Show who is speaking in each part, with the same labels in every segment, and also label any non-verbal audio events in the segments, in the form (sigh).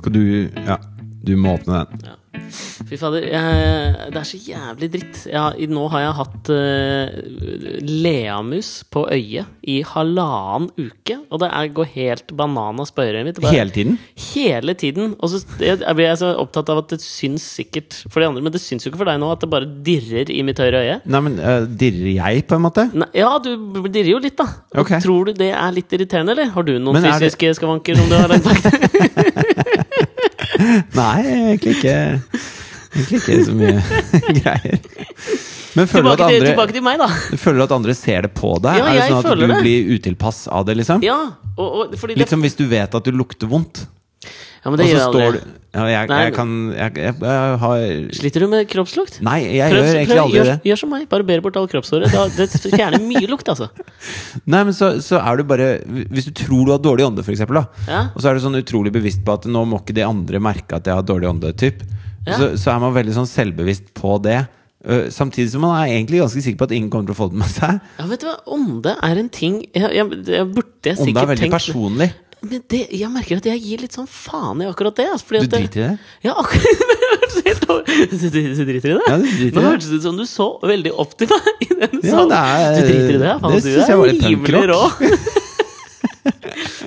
Speaker 1: Og du Ja, du må åpne den.
Speaker 2: Fy fader, jeg, det er så jævlig dritt. Jeg, har- i- nå har jeg hatt eh, leamus på øyet i halvannen uke, og det er, går helt bananas på øyet mitt. Det bare-
Speaker 1: Hele tiden?
Speaker 2: Hele tiden. Og så jeg, jeg blir jeg så opptatt av at det syns sikkert for de andre, men det syns jo ikke for deg nå at det bare dirrer i mitt høyre øye.
Speaker 1: Nei, men eh, dirrer jeg, på en måte?
Speaker 2: Nei, ja, du b- dirrer jo litt, da. Og
Speaker 1: Ok.
Speaker 2: Tror du det er litt irriterende, eller? Har du noen
Speaker 1: Men er det-
Speaker 2: fysiske skavanker som du har lagt bak deg?
Speaker 1: Nei, egentlig ikke. Egentlig ikke så mye (laughs) greier. Men (laughs) føler du
Speaker 2: Tilbake,
Speaker 1: at
Speaker 2: til-
Speaker 1: andre
Speaker 2: tilbake til meg, da.
Speaker 1: Føler du at andre ser det på deg?
Speaker 2: Ja,
Speaker 1: er det
Speaker 2: jeg
Speaker 1: sånn at
Speaker 2: føler
Speaker 1: du
Speaker 2: det.
Speaker 1: blir utilpass av det, liksom?
Speaker 2: Ja, og, og, fordi det,
Speaker 1: Litt som hvis du vet at du lukter vondt,
Speaker 2: ja, men
Speaker 1: og
Speaker 2: det
Speaker 1: så
Speaker 2: gjør jeg
Speaker 1: står
Speaker 2: aldri.
Speaker 1: du ja, jeg,
Speaker 2: Nei,
Speaker 1: jeg
Speaker 2: men-
Speaker 1: kan jeg, jeg, jeg har
Speaker 2: Sliter du med kroppslukt?
Speaker 1: Nei, jeg
Speaker 2: Prøv-
Speaker 1: gjør egentlig
Speaker 2: prøv-
Speaker 1: aldri
Speaker 2: gjør,
Speaker 1: det.
Speaker 2: Gjør som meg, barber bort all kroppshåret. Da, det fjerner mye lukt, altså.
Speaker 1: Nei, men så, så er du bare Hvis du tror du har dårlig ånde, for eksempel, da,
Speaker 2: Ja.
Speaker 1: og så er du sånn utrolig bevisst på at nå må ikke de andre merke at jeg har dårlig ånde, typ.
Speaker 2: Ja.
Speaker 1: Så, så er man veldig sånn selvbevisst på det. Øh, Samtidig som man er egentlig ganske sikker på at ingen kommer til å få det med seg.
Speaker 2: Ja, vet du hva, Ånde er en ting Jeg, jeg, jeg burde sikkert
Speaker 1: Ånde er veldig
Speaker 2: tenkt
Speaker 1: personlig.
Speaker 2: Men det, jeg merker at jeg gir litt sånn faen i akkurat det. Altså, fordi
Speaker 1: Du
Speaker 2: at det-
Speaker 1: driter i det?
Speaker 2: Ja, akkurat (laughs) Så helt over- Så du, du driter i det?
Speaker 1: Ja, du driter i
Speaker 2: Nå
Speaker 1: det.
Speaker 2: hørtes det ut som du så veldig opp til meg i den
Speaker 1: Ja,
Speaker 2: salen.
Speaker 1: det er-
Speaker 2: du driter i det? Faen,
Speaker 1: det
Speaker 2: du
Speaker 1: synes
Speaker 2: er
Speaker 1: jeg var litt
Speaker 2: rimelig rå. (laughs)
Speaker 1: punk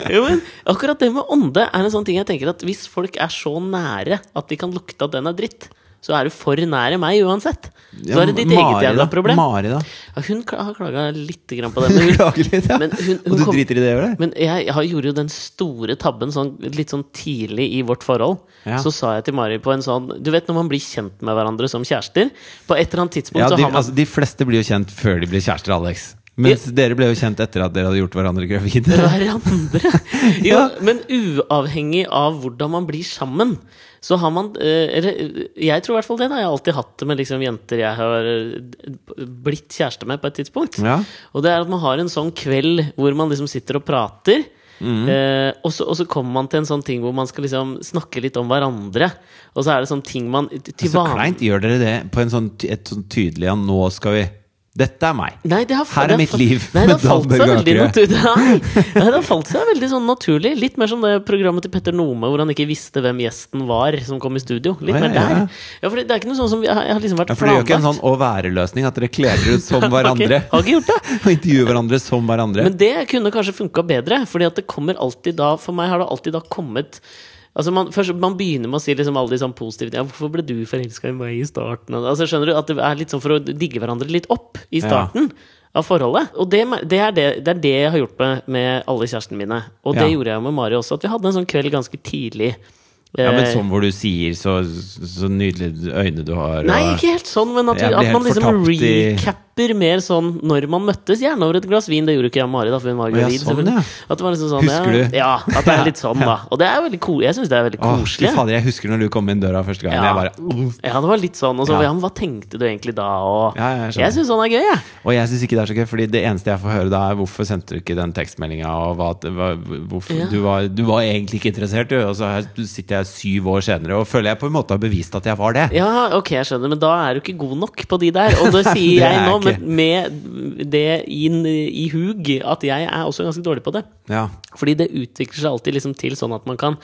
Speaker 2: jo, men akkurat det med ånde er en sånn ting jeg tenker at hvis folk er så nære at de kan lukte at den er dritt, så er du for nære meg uansett. Så er det ditt eget jævla
Speaker 1: da.
Speaker 2: problem.
Speaker 1: Mari, da.
Speaker 2: Ja, hun kla- har klaga lite grann på det. Men hun,
Speaker 1: Klager litt, ja.
Speaker 2: men hun- hun
Speaker 1: og du
Speaker 2: kom-
Speaker 1: driter i det, gjør det?
Speaker 2: men jeg, jeg har- gjorde jo den store tabben sånn, litt sånn tidlig i vårt forhold.
Speaker 1: Ja.
Speaker 2: Så sa jeg til Mari på en sånn Du vet når man blir kjent med hverandre som kjærester? På et eller annet tidspunkt
Speaker 1: Ja,
Speaker 2: så
Speaker 1: de,
Speaker 2: har man
Speaker 1: altså, de fleste blir jo kjent før de blir kjærester, Alex. Mens dere ble jo kjent etter at dere hadde gjort hverandre
Speaker 2: (laughs)
Speaker 1: gravide.
Speaker 2: hverandre.
Speaker 1: (laughs)
Speaker 2: Jo,
Speaker 1: Ja.
Speaker 2: Men uavhengig av hvordan man blir sammen, så har man eh, Eller eh, jeg tror i hvert fall det. da Jeg har alltid hatt det med liksom jenter jeg har eh, blitt kjæreste med på et tidspunkt.
Speaker 1: Ja.
Speaker 2: Og det er at man har en sånn kveld hvor man liksom sitter og prater.
Speaker 1: Mhm.
Speaker 2: Eh, og, så, og så kommer man til en sånn ting hvor man skal liksom snakke litt om hverandre. Og så er det sånn ting man til
Speaker 1: Så
Speaker 2: van-
Speaker 1: kleint gjør dere det på en sånn, ty- et sånn tydelig ja, nå skal vi Dette er meg.
Speaker 2: Nei, det har,
Speaker 1: Her er
Speaker 2: det har
Speaker 1: mitt
Speaker 2: fa-
Speaker 1: liv
Speaker 2: Nei, det har
Speaker 1: med
Speaker 2: falt seg
Speaker 1: Dahlberg
Speaker 2: veldig
Speaker 1: Akerø.
Speaker 2: naturlig. Nei, (laughs) nei, det har falt seg veldig sånn naturlig. Litt mer som det programmet til Petter Nome hvor han ikke visste hvem gjesten var som kom i studio.
Speaker 1: Å,
Speaker 2: Litt
Speaker 1: ja,
Speaker 2: mer
Speaker 1: ja,
Speaker 2: der.
Speaker 1: ja.
Speaker 2: Ja, for det er ikke noe sånn som Jeg har, jeg har liksom vært
Speaker 1: Ja, for det gjør ikke en sånn å være-løsning, at dere kler dere
Speaker 2: (laughs)
Speaker 1: ut som
Speaker 2: Har ikke-
Speaker 1: hverandre.
Speaker 2: Har ikke gjort det.
Speaker 1: (laughs) Og intervjuer hverandre som hverandre.
Speaker 2: Men det kunne kanskje funka bedre, fordi at det kommer alltid da For meg har det alltid da kommet Altså man, først, man begynner med å si liksom alle de sånn positive tingene. ja, 'Hvorfor ble du forelska i meg i starten?' Altså Skjønner du at det er litt sånn for å digge hverandre litt opp i
Speaker 1: Ja.
Speaker 2: starten av forholdet. Og det, mer- det, er det, det er det jeg har gjort med, med alle kjærestene mine. Og det
Speaker 1: Ja.
Speaker 2: gjorde jeg jo med Mari også, at vi hadde en sånn kveld ganske tidlig.
Speaker 1: ja, men
Speaker 2: Eh,
Speaker 1: som hvor du sier så, så nydelige øyne du har.
Speaker 2: Nei,
Speaker 1: og-
Speaker 2: ikke helt sånn, men at, vi,
Speaker 1: Jeg blir
Speaker 2: at man
Speaker 1: helt
Speaker 2: liksom
Speaker 1: fortapt i-
Speaker 2: recapper mer sånn når man møttes. Gjerne over et glass vin. Det gjorde ikke jeg og Mari, da, for hun var
Speaker 1: ja,
Speaker 2: gravid.
Speaker 1: sånn,
Speaker 2: selvfølgelig.
Speaker 1: ja.
Speaker 2: At det var liksom sånn,
Speaker 1: Husker
Speaker 2: ja,
Speaker 1: du?
Speaker 2: Ja, at det er litt
Speaker 1: (laughs)
Speaker 2: sånn, da. Og det er veldig ko jeg syns det er veldig
Speaker 1: Åh, fy
Speaker 2: koselig.
Speaker 1: fader, jeg husker når du kom inn døra første gang.
Speaker 2: Ja.
Speaker 1: Jeg bare,
Speaker 2: ja, det var litt sånn. Og så,
Speaker 1: Ja.
Speaker 2: ja, men hva tenkte du egentlig da? Og
Speaker 1: Ja, jeg skjønner.
Speaker 2: jeg syns sånn er gøy, jeg.
Speaker 1: Og jeg syns ikke det er så gøy, Fordi det eneste jeg får høre da, er hvorfor sendte du ikke den tekstmeldinga? Og hva, hva, hvorfor,
Speaker 2: Ja.
Speaker 1: du, var, du var egentlig ikke interessert, du. Og så her sitter jeg syv år senere og føler jeg på en måte har bevist at jeg var det.
Speaker 2: Ja, ok, jeg skjønner, men da er du ikke god nok på de der.
Speaker 1: (laughs)
Speaker 2: Og det
Speaker 1: Det
Speaker 2: sier
Speaker 1: er
Speaker 2: jeg nå,
Speaker 1: jeg
Speaker 2: men med det inn i hug, at jeg er også ganske dårlig på det.
Speaker 1: Ja.
Speaker 2: Fordi det utvikler seg alltid liksom til sånn at man kan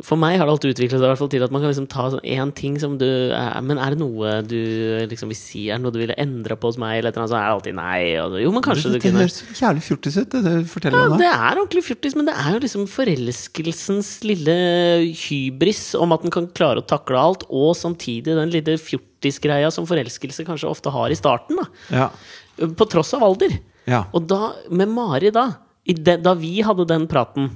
Speaker 2: For meg har det alltid utviklet seg i hvert fall til at man kan liksom ta sånn én ting som du eh, Men er det noe du liksom vil si? Er det noe du ville endra på hos meg? Eller et eller annet, så er det alltid nei. Og, så, jo, men kanskje du
Speaker 1: det,
Speaker 2: kunne
Speaker 1: høres jævlig fjortis ut, det du forteller
Speaker 2: ja,
Speaker 1: om
Speaker 2: det
Speaker 1: nå.
Speaker 2: er ordentlig fjortis, men det er jo liksom forelskelsens lille hybris om at den kan klare å takle alt, og samtidig den lille fjortisgreia som forelskelse kanskje ofte har i starten, da.
Speaker 1: Ja.
Speaker 2: På tross av alder.
Speaker 1: ja.
Speaker 2: Og da, med Mari da i det- Da vi hadde den praten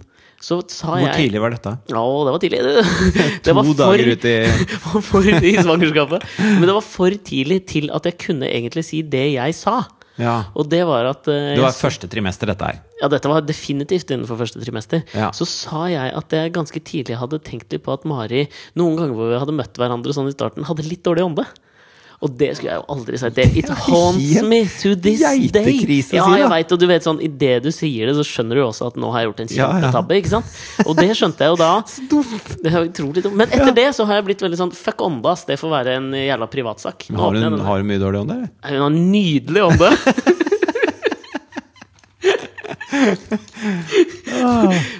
Speaker 2: Så sa
Speaker 1: Hvor
Speaker 2: jeg
Speaker 1: tidlig var dette?
Speaker 2: Ja, det var tidlig
Speaker 1: (laughs)
Speaker 2: det,
Speaker 1: To
Speaker 2: var
Speaker 1: dager ut i
Speaker 2: (laughs) var for i svangerskapet Men det var for tidlig til at jeg kunne egentlig si det jeg sa
Speaker 1: Ja.
Speaker 2: (laughs) Og det var at eh,
Speaker 1: Det var
Speaker 2: jeg-
Speaker 1: første trimester, dette her.
Speaker 2: Ja, dette var definitivt innenfor første trimester
Speaker 1: Ja.
Speaker 2: Så sa jeg at jeg ganske tidlig hadde tenkt litt på at Mari Noen ganger hvor vi hadde møtt hverandre sånn i starten Hadde litt dårlig ånde og det skulle jeg jo aldri sagt. Det, it haunts
Speaker 1: helt
Speaker 2: me to this day.
Speaker 1: geitekrise å
Speaker 2: Ja,
Speaker 1: si,
Speaker 2: jeg
Speaker 1: da.
Speaker 2: vet, og du vet sånn, Idet du sier det, så skjønner du også at nå har jeg gjort en
Speaker 1: Ja, ja.
Speaker 2: kjempetabbe. ikke sant? Og det skjønte jeg jo da. Det er jo utrolig dumt. Men etter det så har jeg blitt veldig sånn Fuck ånde, ass. Det får være en jævla privatsak. Nå
Speaker 1: Har
Speaker 2: åpner jeg
Speaker 1: hun,
Speaker 2: den.
Speaker 1: har hun mye dårlig ånde, eller?
Speaker 2: Nei, Hun har nydelig ånde.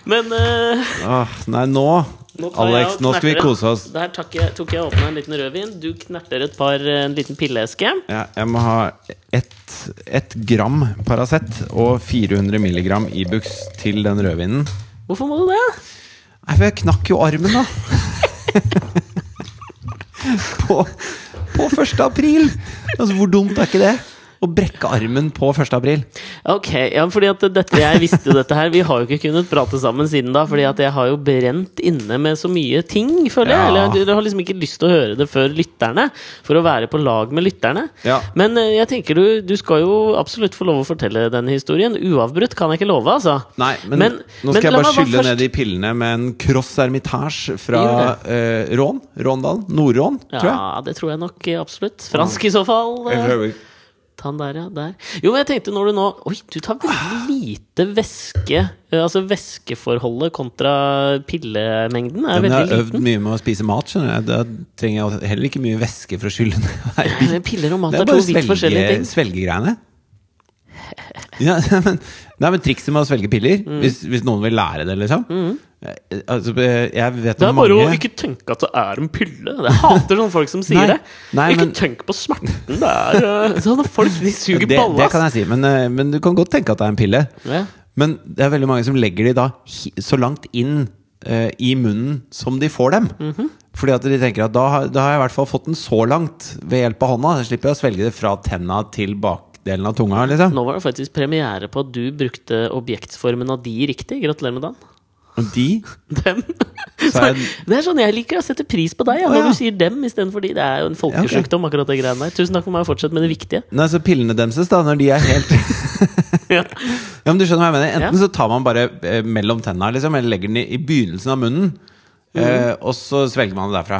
Speaker 2: Men eh,
Speaker 1: Åh, nei, nå
Speaker 2: tar jeg
Speaker 1: Alex,
Speaker 2: og
Speaker 1: nå skal vi
Speaker 2: knerter en-
Speaker 1: kose oss.
Speaker 2: Der tok jeg, tok jeg og åpna en liten rødvin. Du knerter et par, eh, en liten pilleeske.
Speaker 1: Ja, jeg må ha ett et gram Paracet og 400 milligram Ibux til den rødvinen.
Speaker 2: Hvorfor må du det?
Speaker 1: Nei, for jeg knakk jo armen,
Speaker 2: (laughs)
Speaker 1: da. på, på 1. april! Altså, hvor dumt er ikke det? Å brekke armen på 1. april.
Speaker 2: Ok, ja, fordi at dette, Jeg visste jo dette her. Vi har jo ikke kunnet prate sammen siden da. Fordi at jeg har jo brent inne med så mye ting, føler jeg.
Speaker 1: Ja.
Speaker 2: Eller jeg har liksom ikke lyst til å høre det før lytterne. For å være på lag med lytterne.
Speaker 1: Ja.
Speaker 2: Men eh, jeg tenker du, du skal jo absolutt få lov å fortelle denne historien. Uavbrutt kan jeg ikke love, altså.
Speaker 1: Nei, men,
Speaker 2: Men-
Speaker 1: nå
Speaker 2: men
Speaker 1: skal jeg bare
Speaker 2: la meg bare
Speaker 1: skylle
Speaker 2: først-
Speaker 1: ned de pillene med en Cross Hermitage fra
Speaker 2: Gjør
Speaker 1: eh, Rån. Råndalen. Nord-Rån, tror jeg.
Speaker 2: Ja, det tror jeg nok eh, absolutt. Fransk i så fall. eh. Ta den der, ja. Der. Jo, men jeg tenkte når du nå Oi, du tar veldig lite væske. Eh, Altså væskeforholdet kontra pillemengden er
Speaker 1: Men jeg har
Speaker 2: veldig
Speaker 1: øvd
Speaker 2: liten.
Speaker 1: mye med å spise mat, skjønner jeg. Da trenger jeg heller ikke mye væske for å skylle ned hver
Speaker 2: Eh, Piller og mat
Speaker 1: Det
Speaker 2: er
Speaker 1: er
Speaker 2: to
Speaker 1: bare
Speaker 2: vidt forskjellige
Speaker 1: svelge,
Speaker 2: ting.
Speaker 1: svelgegreiene. Ja, (laughs) men, nei, men trikset med å svelge piller,
Speaker 2: Mm.
Speaker 1: hvis, hvis noen vil lære det, liksom Eh, altså, eh, Jeg vet
Speaker 2: Det er
Speaker 1: om
Speaker 2: bare
Speaker 1: mange
Speaker 2: å ikke tenke at det er en pille. Jeg hater sånne folk som sier
Speaker 1: Nei,
Speaker 2: det.
Speaker 1: nei,
Speaker 2: ikke
Speaker 1: men-
Speaker 2: tenk på smerten det er
Speaker 1: (laughs)
Speaker 2: eh, Sånne folk, de suger
Speaker 1: det, det
Speaker 2: balla.
Speaker 1: kan jeg si, men, eh, men du kan godt tenke at det er en pille.
Speaker 2: Ja.
Speaker 1: Men det er veldig mange som legger de da hi- så langt inn eh, i munnen som de får dem.
Speaker 2: Mhm.
Speaker 1: Fordi at de tenker at da, har- da har jeg i hvert fall fått den så langt ved hjelp av hånda. Da slipper jeg å svelge det fra tenna til bakdelen av tunga. Liksom.
Speaker 2: Nå var det faktisk premiere på at du brukte objektformen av de riktig. Gratulerer med dagen.
Speaker 1: Og de
Speaker 2: Dem.
Speaker 1: Så er-
Speaker 2: (laughs) Det er sånn jeg liker å sette pris på deg, ja,
Speaker 1: Å,
Speaker 2: når
Speaker 1: ja.
Speaker 2: du sier dem istedenfor de. Det er jo en folkesjukdom, akkurat det greiene der. Tusen takk for meg, og fortsett med det viktige.
Speaker 1: Nei, så pillene demses da, når de er helt
Speaker 2: (laughs) Ja.
Speaker 1: Ja, men du skjønner hva jeg mener. Enten
Speaker 2: Ja.
Speaker 1: så tar man bare eh, mellom tenna, liksom, eller legger den i, i begynnelsen av munnen,
Speaker 2: Mm.
Speaker 1: eh, og så svelger man det derfra.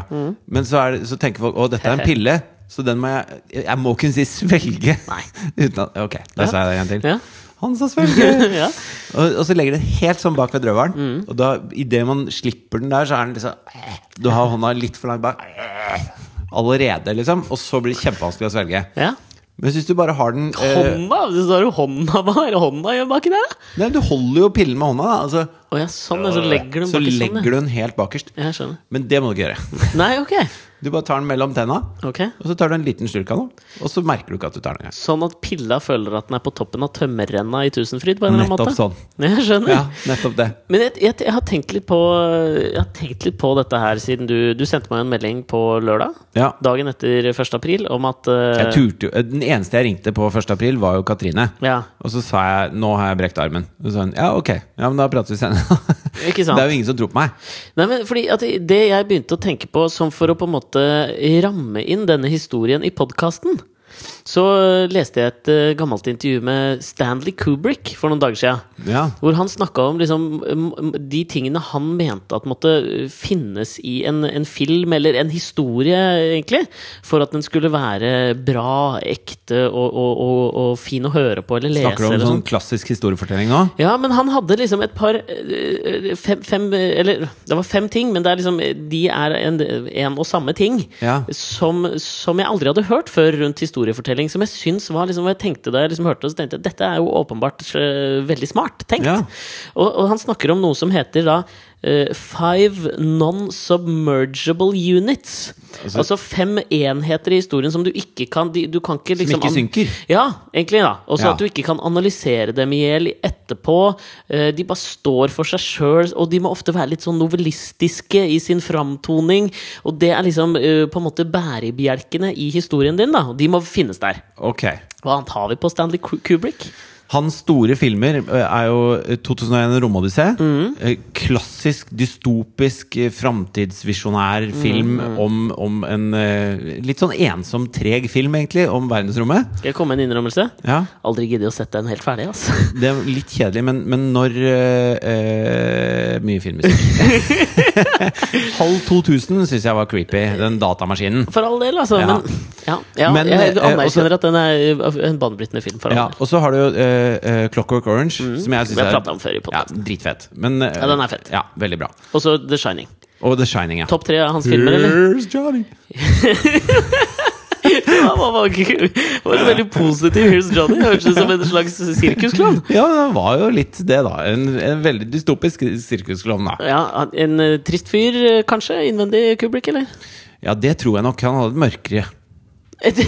Speaker 1: Men så, er, det- så tenker folk å, dette
Speaker 2: (laughs)
Speaker 1: er en pille, så den må jeg Jeg må kunne si svelge.
Speaker 2: Nei.
Speaker 1: (laughs) Uten at, ok, da sa jeg det en gang til.
Speaker 2: Ja.
Speaker 1: Han sa svelge!
Speaker 2: (laughs) ja. Mm.
Speaker 1: og, og så legger den helt sånn bak ved drøvelen, og da, idet man slipper den der, så er den liksom Du har hånda litt for langt bak. Allerede, liksom. Og så blir det kjempevanskelig å svelge.
Speaker 2: ja.
Speaker 1: Men hvis du bare har den eh,
Speaker 2: Hånda! Du står jo hånda bare hånda gjør baki der.
Speaker 1: Nei, du holder jo pillen med hånda, da. Altså,
Speaker 2: Å ja, sånn. ja, Så legger du
Speaker 1: så
Speaker 2: den baki sånn.
Speaker 1: legger
Speaker 2: ja.
Speaker 1: du den helt bakerst.
Speaker 2: Jeg skjønner.
Speaker 1: Men det må du ikke gjøre. (laughs)
Speaker 2: Nei, ok.
Speaker 1: Du bare tar den mellom tenna,
Speaker 2: Ok.
Speaker 1: og så tar du en liten slurk av den. Og så merker du ikke at du tar den. engang.
Speaker 2: Sånn at pilla føler at den er på toppen av tømmerrenna i Tusenfryd? På en eller annen
Speaker 1: Nettopp
Speaker 2: måte.
Speaker 1: sånn.
Speaker 2: Jeg skjønner.
Speaker 1: Ja, nettopp det.
Speaker 2: Men jeg, jeg, jeg, har tenkt litt på, jeg har tenkt litt på dette her siden du, du sendte meg en melding på lørdag.
Speaker 1: Ja.
Speaker 2: Dagen etter 1. april om at eh,
Speaker 1: Jeg turte jo Den eneste jeg ringte på 1. april, var jo Katrine.
Speaker 2: ja,
Speaker 1: Og så sa jeg 'nå har jeg brekt armen'. Og så sa hun 'ja, ok, ja, men da prates vi senere'. (laughs)
Speaker 2: Ikke sant?
Speaker 1: Det er jo ingen som tror på meg.
Speaker 2: Nei, men fordi at Det jeg begynte å tenke på som for å på en måte ramme inn denne historien i podkasten, så eh, leste jeg et eh, gammelt intervju med Stanley Kubrick for noen dager siden.
Speaker 1: Ja.
Speaker 2: Hvor han snakka om liksom, m- m- de tingene han mente at måtte eh, finnes i en, en film, eller en historie, egentlig, for at den skulle være bra, ekte og, og, og, og fin å høre på eller lese.
Speaker 1: Snakker du om
Speaker 2: eller
Speaker 1: sånn klassisk historiefortelling nå?
Speaker 2: ja, men han hadde liksom et par eh, fem, fem, Eller det var fem ting, men det er liksom, de er en, en og samme ting.
Speaker 1: Ja.
Speaker 2: Som, som jeg aldri hadde hørt før rundt historiefortelling. Som jeg syns var liksom, og jeg tenkte Da jeg liksom hørte det, så tenkte jeg dette er jo åpenbart eh, veldig smart tenkt.
Speaker 1: Ja.
Speaker 2: Og, og han snakker om noe som heter da eh, Five non-submergible units. Altså, fem enheter i historien som du ikke kan de, Du kan ikke liksom
Speaker 1: ikke
Speaker 2: an-
Speaker 1: synker.
Speaker 2: Ja, egentlig. da Og så
Speaker 1: Ja.
Speaker 2: at du ikke kan analysere dem i hjel etterpå. Eh, De bare står for seg sjøl, og de må ofte være litt sånn novellistiske i sin framtoning. Og det er liksom eh, på en måte bærebjelkene i historien din, da. Og de må finnes der.
Speaker 1: Ok.
Speaker 2: Hva annet har vi på Stanley Ku- Kubrick?
Speaker 1: Hans store filmer eh, er jo eh, 2001 en romodyssé.
Speaker 2: Mm.
Speaker 1: Eh, Klassisk dystopisk eh, framtidsvisjonær
Speaker 2: Mm.
Speaker 1: film om, om en eh, litt sånn ensom, treg film, egentlig, om verdensrommet.
Speaker 2: Skal jeg komme med en innrømmelse?
Speaker 1: Ja,
Speaker 2: Aldri giddet å sette den helt ferdig, altså.
Speaker 1: Det er litt kjedelig, men, men når eh, eh, Mye filmmusikk. (laughs) Halv 2000 syns jeg var creepy, den datamaskinen.
Speaker 2: (laughs) For all del, altså.
Speaker 1: Ja.
Speaker 2: Men, ja, ja,
Speaker 1: Men,
Speaker 2: jeg
Speaker 1: eh, også-
Speaker 2: anerkjenner at den er eh, en banebrytende film. For all
Speaker 1: Ja,
Speaker 2: del.
Speaker 1: og så har du jo eh, eh, Clockwork Orange, som jeg
Speaker 2: Mm. Vi
Speaker 1: syns
Speaker 2: har
Speaker 1: er
Speaker 2: pratet om før i
Speaker 1: ja,
Speaker 2: podcasten.
Speaker 1: dritfett. Men, eh,
Speaker 2: Ja, den er fett.
Speaker 1: Ja, veldig bra.
Speaker 2: Og så The Shining.
Speaker 1: Og The Shining, ja.
Speaker 2: Topp tre av hans filmer, eller?
Speaker 1: Here's Johnny.
Speaker 2: Han var, bare- han var en veldig positiv Here's Johnny. Hørtes ut som en slags sirkusklovn.
Speaker 1: Ja, det var jo litt det, da. En, en veldig dystopisk sirkusklovn, da.
Speaker 2: Ja, han- en eh, trist fyr, eh, kanskje? Innvendig Kubrick, eller? (laughs)
Speaker 1: Ja, det tror jeg nok. Han hadde et mørkere. (laughs)
Speaker 2: er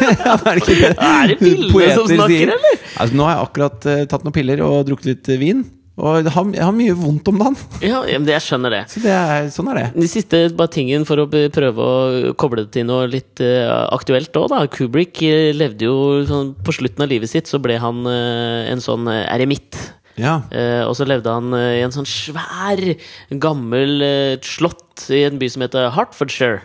Speaker 1: Ja, men er det ikke det?
Speaker 2: det pillene som
Speaker 1: Poeter sier.
Speaker 2: snakker, eller?
Speaker 1: Altså, nå har jeg akkurat eh, tatt noen piller og drukket litt eh, vin. Og jeg har, jeg har mye vondt om dagen.
Speaker 2: Ja, ja, men det- jeg skjønner det.
Speaker 1: Så det er, sånn er det.
Speaker 2: Den siste bare tingen for å be- prøve å koble det til noe litt eh, aktuelt òg, da. Kubrick eh, levde jo sånn På slutten av livet sitt så ble han eh, en sånn eh, eremitt.
Speaker 1: Ja.
Speaker 2: Eh, og så levde han eh, i en sånn svær, gammel eh, slott i en by som heter Hertfordshire.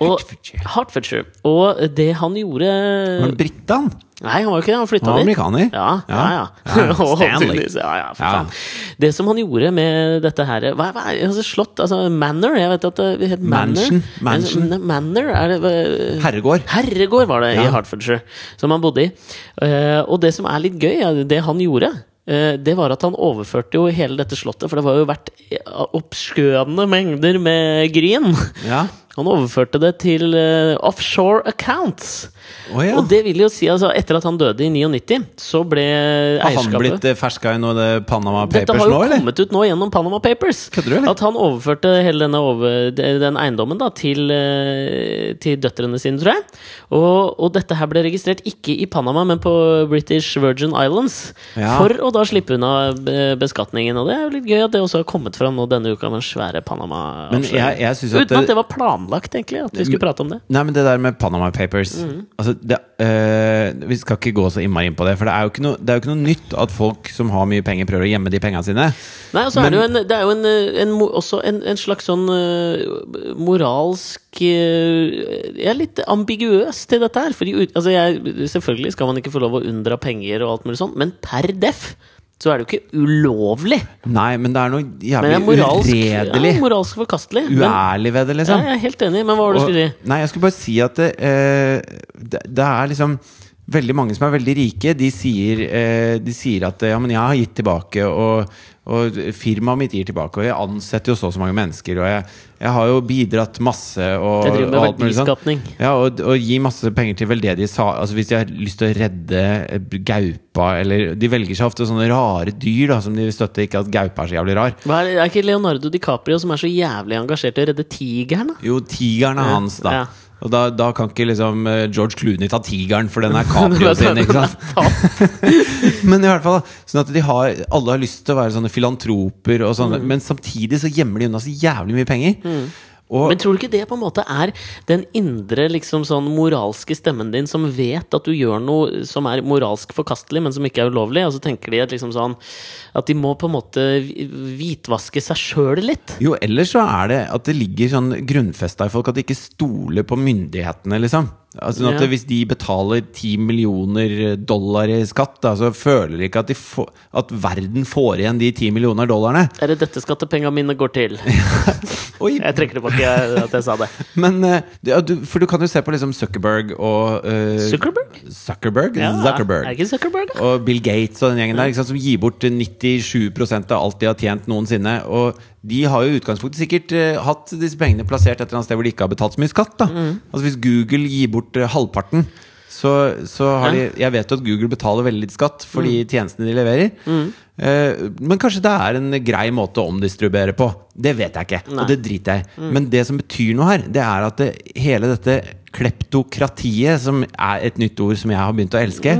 Speaker 2: Og,
Speaker 1: Hertfordshire.
Speaker 2: Hertfordshire. og det han gjorde
Speaker 1: Var han brite, han?
Speaker 2: Nei, han var jo ikke det, han flytta
Speaker 1: Han var
Speaker 2: dit.
Speaker 1: amerikaner.
Speaker 2: Ja, ja, ja. (laughs)
Speaker 1: Ja,
Speaker 2: Og
Speaker 1: Stanley.
Speaker 2: tydeligvis, Ja, ja, for
Speaker 1: Ja.
Speaker 2: faen. Det som han gjorde med dette her Hva, hva er altså, slott? Altså Manor? Jeg vet at det het Manor.
Speaker 1: Mansion, mansion.
Speaker 2: Men- Manor, er det hva-
Speaker 1: Herregård.
Speaker 2: Herregård var det
Speaker 1: Ja.
Speaker 2: i Hertfordshire, som han bodde i. Eh, og det som er litt gøy, er det han gjorde. eh, Det var at han overførte jo hele dette slottet, for det var jo vært oppskøende mengder med gryn.
Speaker 1: Ja.
Speaker 2: Han overførte det til eh, offshore accounts.
Speaker 1: Å ja.
Speaker 2: Og det vil jo si, altså, etter at han døde i 99, så ble
Speaker 1: Har han
Speaker 2: eierskapet
Speaker 1: blitt eh, ferska i noe av det Panama
Speaker 2: dette
Speaker 1: Papers
Speaker 2: har jo
Speaker 1: nå, eller?
Speaker 2: kommet ut nå gjennom Panama Papers.
Speaker 1: Kødder du, eller?
Speaker 2: At han overførte hele denne over, den eiendommen da, til, eh, til døtrene sine, tror jeg. Og, og dette her ble registrert ikke i Panama, men på British Virgin Islands.
Speaker 1: Ja.
Speaker 2: For å da slippe unna eh, beskatningen. Og det er jo litt gøy at det også har kommet fram nå denne uka med den svære panama
Speaker 1: Men jeg, jeg synes
Speaker 2: Uten
Speaker 1: at
Speaker 2: at
Speaker 1: det,
Speaker 2: det var planlagt, egentlig, at vi skulle prate om det.
Speaker 1: Nei, men det der med Panama Papers
Speaker 2: Mm.
Speaker 1: altså, det, eh, Vi skal ikke gå så innmari inn på det, for det er, jo ikke noe, det er jo ikke noe nytt at folk som har mye penger, prøver å gjemme de pengene sine.
Speaker 2: Nei, og så er det jo, en, det er jo en, eh, en, mo- også en, en slags sånn eh, moralsk eh, Jeg er litt ambiguøs til dette her. Fordi, ut- altså jeg, selvfølgelig skal man ikke få lov å unndra penger og alt mulig sånt, men per def så er det jo ikke ulovlig.
Speaker 1: Nei, men det er noe
Speaker 2: Men det er
Speaker 1: jævlig
Speaker 2: moralsk,
Speaker 1: uredelig,
Speaker 2: ja, moralsk forkastelig. Men,
Speaker 1: uærlig ved det,
Speaker 2: ja,
Speaker 1: liksom.
Speaker 2: jeg er helt enig, men hva var det du skulle si?
Speaker 1: Og- Nei, jeg skulle bare si at det, eh, det, det er liksom Veldig mange som er veldig rike, de sier, eh, de sier at ja, men jeg har gitt tilbake, og, og firmaet mitt gir tilbake, og jeg ansetter jo så og så mange mennesker, og jeg, jeg har jo bidratt masse og,
Speaker 2: Jeg driver
Speaker 1: og
Speaker 2: med
Speaker 1: alt mulig sånn.
Speaker 2: verdiskapning.
Speaker 1: Ja, og, og gi masse penger til veldedige sa... Altså Hvis de har lyst til å redde eh, gaupa, eller De velger seg ofte sånne rare dyr da som de støtter, ikke at gaupa er så jævlig rar.
Speaker 2: Hva Er, er ikke Leonardo DiCaprio som er så jævlig engasjert i å redde tigeren? da?
Speaker 1: Jo, tigeren er hans, da.
Speaker 2: Ja.
Speaker 1: Og da, da kan ikke liksom eh, George Clooney ta tigeren, for
Speaker 2: (laughs)
Speaker 1: den er Caprio sin. ikke sant? Men i hvert fall, da, sånn at de har, alle har lyst til å være sånne filantroper, og
Speaker 2: Mm.
Speaker 1: sånne, men samtidig så gjemmer de unna så jævlig mye penger. Og,
Speaker 2: Men tror du ikke det på en måte er den indre liksom sånn moralske stemmen din som vet at du gjør noe som er moralsk forkastelig, men som ikke er ulovlig? Og så tenker de at, liksom sånn, at de må på en måte hvi- hvitvaske seg sjøl litt?
Speaker 1: jo, ellers så er det at det ligger sånn grunnfesta i folk at de ikke stoler på myndighetene, liksom. Altså, sånn at
Speaker 2: Ja.
Speaker 1: Hvis de betaler 10 millioner dollar i skatt, da, så føler de ikke at, de får, at verden får igjen de 10 millioner dollarene.
Speaker 2: Er det dette skattepenga mine går til?
Speaker 1: Oi,
Speaker 2: Jeg trekker tilbake at jeg sa det.
Speaker 1: Eh, Men eh, det- ja, du, For du kan jo se på liksom Zuckerberg og eh,
Speaker 2: Zuckerberg?
Speaker 1: (laughs) Zuckerberg?
Speaker 2: Ja,
Speaker 1: Zuckerberg.
Speaker 2: Er det ikke Zuckerberg, da?
Speaker 1: Og Bill Gates og den gjengen der ikke sant, som gir bort 97 av alt de har tjent noensinne. Og de har jo i utgangspunktet sikkert eh, hatt disse pengene plassert et eller annet sted hvor de ikke har betalt så mye skatt. da
Speaker 2: Mm.
Speaker 1: Altså Hvis Google gir bort eh, halvparten, så, så har de
Speaker 2: Ja. Mm.
Speaker 1: Jeg vet jo at Google betaler veldig litt skatt for de tjenestene de leverer. Eh, men kanskje det er en grei måte å omdistribuere på. Det vet jeg ikke,
Speaker 2: Nei. Mm.
Speaker 1: og det driter jeg i. Men det som betyr noe her, det er at det, hele dette kleptokratiet, som er et nytt ord som jeg har begynt å elske